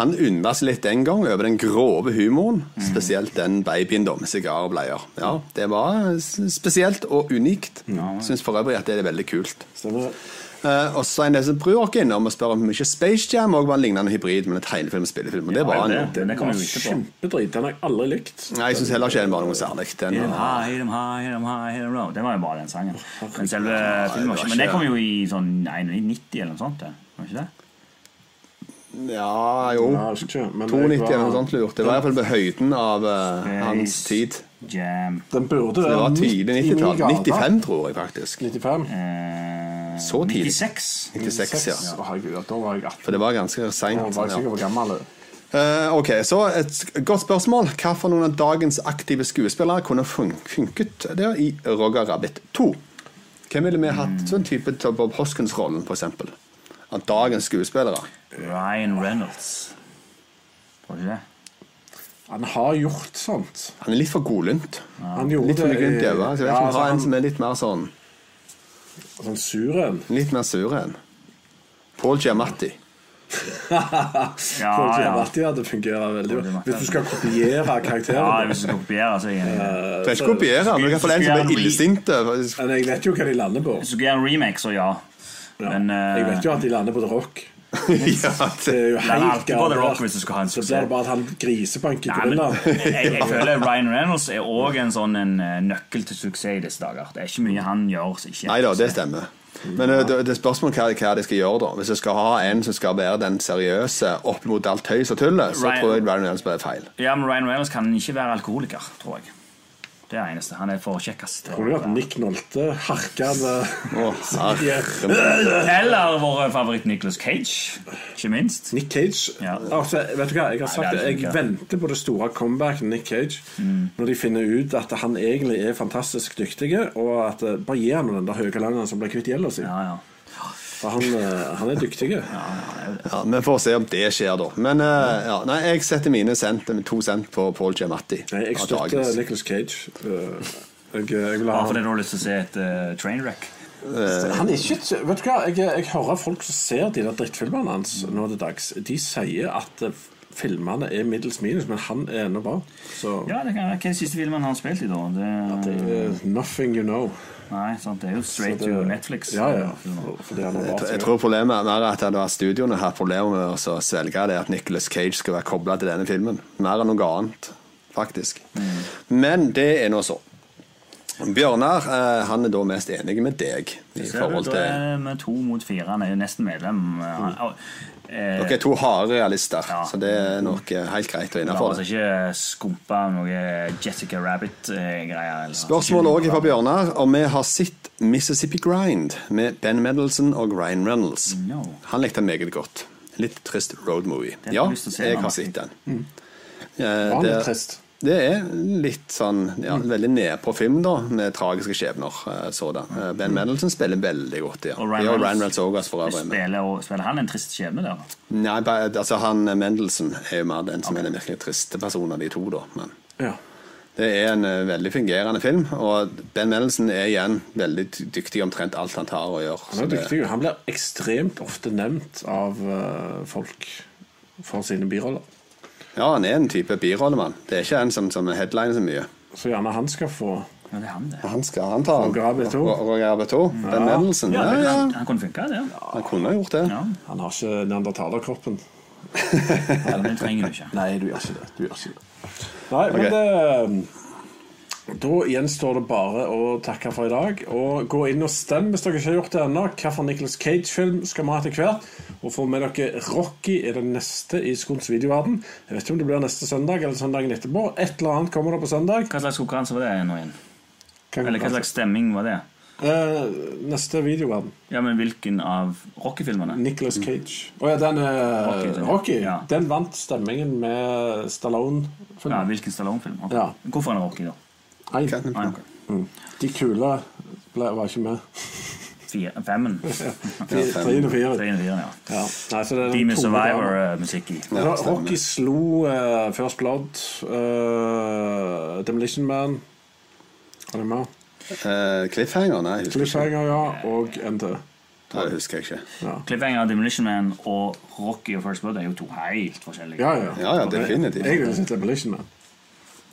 Speaker 8: Han undra seg litt den gang over den grove humoren,
Speaker 6: Mm.
Speaker 8: spesielt den babyen da med sigar og bleier. Ja, det var s- spesielt og unikt. Syns for øvrig at det er veldig kult.
Speaker 6: Stemmer.
Speaker 8: Eh, og så er det en del som bryr oss innom og spør om hvor mye Space Jam og var en lignende hybrid med en tegnefilm og spillefilm. Og det var han jo.
Speaker 7: Men det
Speaker 6: Den
Speaker 7: kommer jo
Speaker 6: var
Speaker 7: ikke på.
Speaker 6: kjempedrit. Den har jeg aldri likt.
Speaker 8: Nei, jeg syns heller ikke den var noe særlig. Den,
Speaker 7: Hit 'em high, hit 'em high, hit 'em high, hit 'em low. Det var jo bare den sangen. Men selve filmen var ikke Men det kom jo i sånn 91 eller noe sånt. det. Var ikke det?
Speaker 8: ja, jo.
Speaker 6: Ja, jeg husker ikke, men
Speaker 8: 92
Speaker 6: jeg
Speaker 8: eller
Speaker 6: var-
Speaker 8: noe sånt lurt. Det var iallfall på høyden av eh, hans tid.
Speaker 7: Jam.
Speaker 6: Den burde
Speaker 8: Det var
Speaker 6: være
Speaker 8: tidlig
Speaker 6: midt i
Speaker 8: 90-tall.
Speaker 6: gata.
Speaker 8: 95, tror jeg faktisk.
Speaker 6: 95.
Speaker 7: Eh,
Speaker 8: Så tidlig.
Speaker 7: 96.
Speaker 8: 96, ja.
Speaker 6: Å, herregud, da var jeg 18.
Speaker 8: For det var ganske
Speaker 6: Da
Speaker 8: seint.
Speaker 6: var jeg sikkert
Speaker 8: Ja.
Speaker 6: for gammel.
Speaker 8: Eh, ok, så et godt spørsmål. Hva for noen av dagens aktive skuespillere kunne fun funket der i Roger Rabbit 2? Hvem ville vi
Speaker 6: Hmm.
Speaker 8: hatt sånn type til Bob Hoskins-rollen, f.eks.? Av dagens skuespillere?
Speaker 7: Ryan Reynolds. Var det ikke det?
Speaker 6: Han har gjort sånt.
Speaker 8: Han er litt for godlynt.
Speaker 6: Han gjorde
Speaker 8: Litt for mye
Speaker 6: det i-
Speaker 8: glimt i øyet. Så jeg vet
Speaker 6: Ja,
Speaker 8: ikke om vi
Speaker 6: altså,
Speaker 8: har
Speaker 6: han-
Speaker 8: en som er litt mer sånn
Speaker 6: Sånn sur
Speaker 7: <laughs>
Speaker 6: en.
Speaker 8: Litt mer sur enn Paul Giamatti.
Speaker 7: Ja,
Speaker 6: Folk
Speaker 7: ja.
Speaker 6: alltid hadde fungert veldig bra. Hvis du skal kopiere
Speaker 7: Ja,
Speaker 6: karakteren.
Speaker 7: Ah, hvis du skal kopiere, så er jeg enig.
Speaker 8: Du kan ikke kopiere, men du kan få den som blir illsint.
Speaker 6: Men jeg vet jo hva de lander på.
Speaker 7: Hvis du skal gjøre en remake, så ja. Men eh,
Speaker 6: Jeg vet jo at de lander på The Rock.
Speaker 8: <laughs> Ja,
Speaker 6: Det
Speaker 8: det-
Speaker 6: er jo
Speaker 7: lander
Speaker 6: helt
Speaker 7: alltid på The Rock
Speaker 6: garantert.
Speaker 7: hvis du skal ha en
Speaker 6: Så
Speaker 7: suksess.
Speaker 6: blir det bare at han griser på en
Speaker 7: Nei, men,
Speaker 6: gorilla.
Speaker 7: jeg, jeg føler Ryan Reynolds er òg en sånn en eh, nøkkel til suksess i disse dager. Det er ikke mye han gjør som ikke
Speaker 8: Nei da, det stemmer. Men eh, det, det er spørsmål hva, hva de skal gjøre, da. Hvis du skal ha en som skal være den seriøse opp mot alt tøys og tullet, så
Speaker 7: Ryan-
Speaker 8: tror jeg Ryan Reynolds blir feil.
Speaker 7: Ja, men Ryan Reynolds kan ikke være alkoholiker, tror jeg. Det er det eneste. Han er for kjekkest.
Speaker 6: Tror du at Nick Nolte harkende
Speaker 8: Å, herre min.
Speaker 7: Eller vår favoritt Nicholas Cage, ikke minst.
Speaker 6: Nick Cage
Speaker 7: Ja.
Speaker 6: altså, Vet du hva, jeg har sagt
Speaker 7: Nei, det er
Speaker 6: det.
Speaker 7: det
Speaker 6: Jeg
Speaker 7: ikke. Mm.
Speaker 6: venter på det store comebacket Nick Cage. Når de finner ut at han egentlig er fantastisk dyktig, og at eh, bare gi ham den der høykalenderen som ble kvitt gjelda si.
Speaker 7: Ja, ja.
Speaker 6: For han, eh, han er dyktig.
Speaker 8: Ja, Vi får se om det skjer, da. Men eh, ja, nei, jeg setter mine cent, to cent på Paul Giamatti.
Speaker 6: Nei, jeg
Speaker 8: av
Speaker 6: støtter
Speaker 8: dagens.
Speaker 6: Nicholas Cage. Eh, Jeg, jeg vil ha
Speaker 7: Bare fordi du har lyst til å se et eh, train wreck.
Speaker 6: Han er ikke, et- vet du hva, jeg, eh, jeg hører folk som ser de der drittfilmene hans
Speaker 7: Mm.
Speaker 6: nå til dags, de sier at eh, filmene er middels minus, men han er ennå bra. Så
Speaker 7: Ja, det kan være Hva er den siste filmen han har spilt i, da? Det,
Speaker 6: eh, nothing you know.
Speaker 7: nei, sant, det er jo straight
Speaker 6: Så det-
Speaker 7: to Netflix.
Speaker 6: Ja, ja. for- Fordi han er
Speaker 8: Jeg,
Speaker 6: bra.
Speaker 8: tror- jeg tror problemet er mer at det var studioene her problemer med å så svelge det at Nicolas Cage skal være kobla til
Speaker 7: Mm.
Speaker 8: denne filmen. Mer enn noe annet, faktisk. Men det er nå så. Bjørnar eh, han er da mest enig med deg i
Speaker 7: Ser du,
Speaker 8: forhold
Speaker 7: da
Speaker 8: til
Speaker 7: er vi to mot fire. Han er jo nesten
Speaker 6: Mm.
Speaker 7: medlem. Han- eh,
Speaker 8: Dere er to harde realister,
Speaker 7: Ja.
Speaker 8: så det er nok eh, helt greit og
Speaker 7: La
Speaker 8: innafor.
Speaker 7: oss ikke skumpe noe Jessica Rabbit-greier.
Speaker 8: Spørsmålet også fra Bjørnar om vi har sett Mississippi Grind med Ben Mendelsohn og Ryan Reynolds.
Speaker 7: No.
Speaker 8: Han likte den meget godt. Litt trist road movie.
Speaker 7: Den har jeg
Speaker 8: Ja,
Speaker 7: lyst til Mm. å se,
Speaker 8: jeg
Speaker 7: Martin.
Speaker 8: har sett den.
Speaker 6: Var
Speaker 8: Eh,
Speaker 6: han
Speaker 8: det,
Speaker 6: litt trist?
Speaker 8: det er litt sånn ja,
Speaker 7: Mm.
Speaker 8: Veldig nedpå film, da, med tragiske skjebner. eh, Sådan. Eh, Ben Mendelsohn spiller veldig godt, ja.
Speaker 7: Mm. Og Ryan
Speaker 8: ja, og
Speaker 7: Reynolds.
Speaker 8: Ryan Reynolds også, for øvrig. men-
Speaker 7: Spiller, og, spiller han en trist skjebne der?
Speaker 8: Nei, ba- altså han eh, Mendelsohn er jo mer den som er den virkelig triste personen av de to, da. men...
Speaker 6: Ja.
Speaker 8: Det er en eh, veldig fungerende film, og Ben Mendelsohn er igjen veldig dy- dyktig i omtrent alt han tar og gjør.
Speaker 6: Han
Speaker 8: Så
Speaker 6: er
Speaker 8: det-
Speaker 6: dyktig. jo. Han blir ekstremt ofte nevnt av eh, folk for sine biroller.
Speaker 8: Ja, han er en type birollemann. Det er ikke en som, som headliner så mye.
Speaker 6: Så gjerne han skal få
Speaker 7: Ja, det er han, det.
Speaker 8: Han skal han ta
Speaker 6: Roger Rabbit også.
Speaker 8: Roger Rabbit også. Ben Mendelsohn.
Speaker 7: Ja,
Speaker 8: Ja,
Speaker 7: det
Speaker 8: ja.
Speaker 7: kan, han kunne funka, det.
Speaker 8: Han kunne ha gjort det.
Speaker 7: Ja,
Speaker 6: Han har ikke neandertalerkroppen.
Speaker 7: ja, Det trenger du ikke.
Speaker 6: Nei, du gjør ikke det. Du gjør ikke det. Nei, men det Da gjenstår det bare å takke for i dag. Og gå inn og stem hvis dere ikke har gjort det ennå. Hvilken Nicholas Cage-film skal vi ha etter hvert? Og få med dere Rocky er den neste i Skons videoverden. Jeg vet ikke om det blir neste søndag eller søndagen etterpå. Et eller annet kommer det på søndag.
Speaker 7: Hva slags konkurranse var det nå igjen?
Speaker 6: Kan-
Speaker 7: Eller hva slags stemming var det?
Speaker 6: Eh, neste videoverden.
Speaker 7: Ja, men Hvilken av rockefilmene?
Speaker 6: Nicholas Cage. Å ja, den eh,
Speaker 7: Mm. Rocky, den.
Speaker 6: Rocky.
Speaker 7: Ja.
Speaker 6: Den vant stemmingen med Stallone.
Speaker 7: Ja, hvilken Stallone-film? Ok.
Speaker 6: Ja.
Speaker 7: Hvorfor en Rocky, da?
Speaker 6: Nei,
Speaker 7: Nei, ok.
Speaker 6: de kule ble, var ikke med.
Speaker 7: Fire, <laughs> femmen.
Speaker 6: Tre tre og
Speaker 7: Tre
Speaker 6: fire.
Speaker 7: og fire, ja.
Speaker 6: Ja. Nei, så det er den
Speaker 7: Demon
Speaker 6: tunge
Speaker 7: Survivor-musikk i.
Speaker 6: damen. Ja, Rocky slo eh, First Blood, eh, Demolition Man Er det med?
Speaker 8: Eh, Cliffhanger? Nei, jeg husker ikke.
Speaker 6: Cliffhanger, ja, og en til.
Speaker 8: Nei, det husker jeg ikke.
Speaker 7: Cliffhanger, Demolition Man og Rocky og First Blood er jo to helt forskjellige.
Speaker 6: Ja, ja.
Speaker 8: Ja, ja, definitivt.
Speaker 6: Jeg ville sett Demolition Man.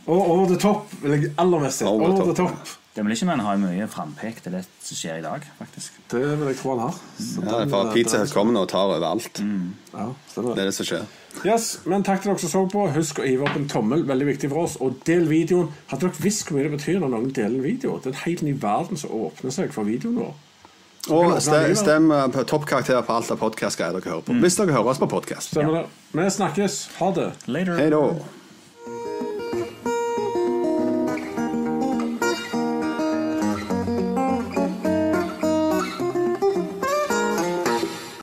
Speaker 6: Og Over the Top vil jeg aller mest se.
Speaker 8: Over the
Speaker 6: Over the
Speaker 8: Top,
Speaker 6: Top.
Speaker 7: Demolition Man har jo mye frampek til det som skjer i dag, faktisk.
Speaker 6: Det vil jeg tro han har. Så
Speaker 8: Ja,
Speaker 6: den,
Speaker 8: for
Speaker 6: eh,
Speaker 8: Pizza
Speaker 6: den-
Speaker 8: Hut kommer nå og tar over alt.
Speaker 6: Ja, stemmer
Speaker 8: Det
Speaker 6: det.
Speaker 8: er det som skjer.
Speaker 6: Yes, men takk til dere som så på. Husk å hive opp en tommel. Veldig viktig for oss. Og del videoen. Hadde dere visst hvor mye det betyr når noen deler en video? Det er en helt ny verden som åpner seg for videoen vår.
Speaker 8: Og
Speaker 6: åpne
Speaker 8: ste-
Speaker 6: livet.
Speaker 8: stem eh, på toppkarakterer på alt
Speaker 6: Mm.
Speaker 8: av podkastgreier dere hører på. Hvis dere hører oss på podkast.
Speaker 6: Stemmer det? Vi snakkes. Ha det.
Speaker 7: Later.
Speaker 8: Hei da.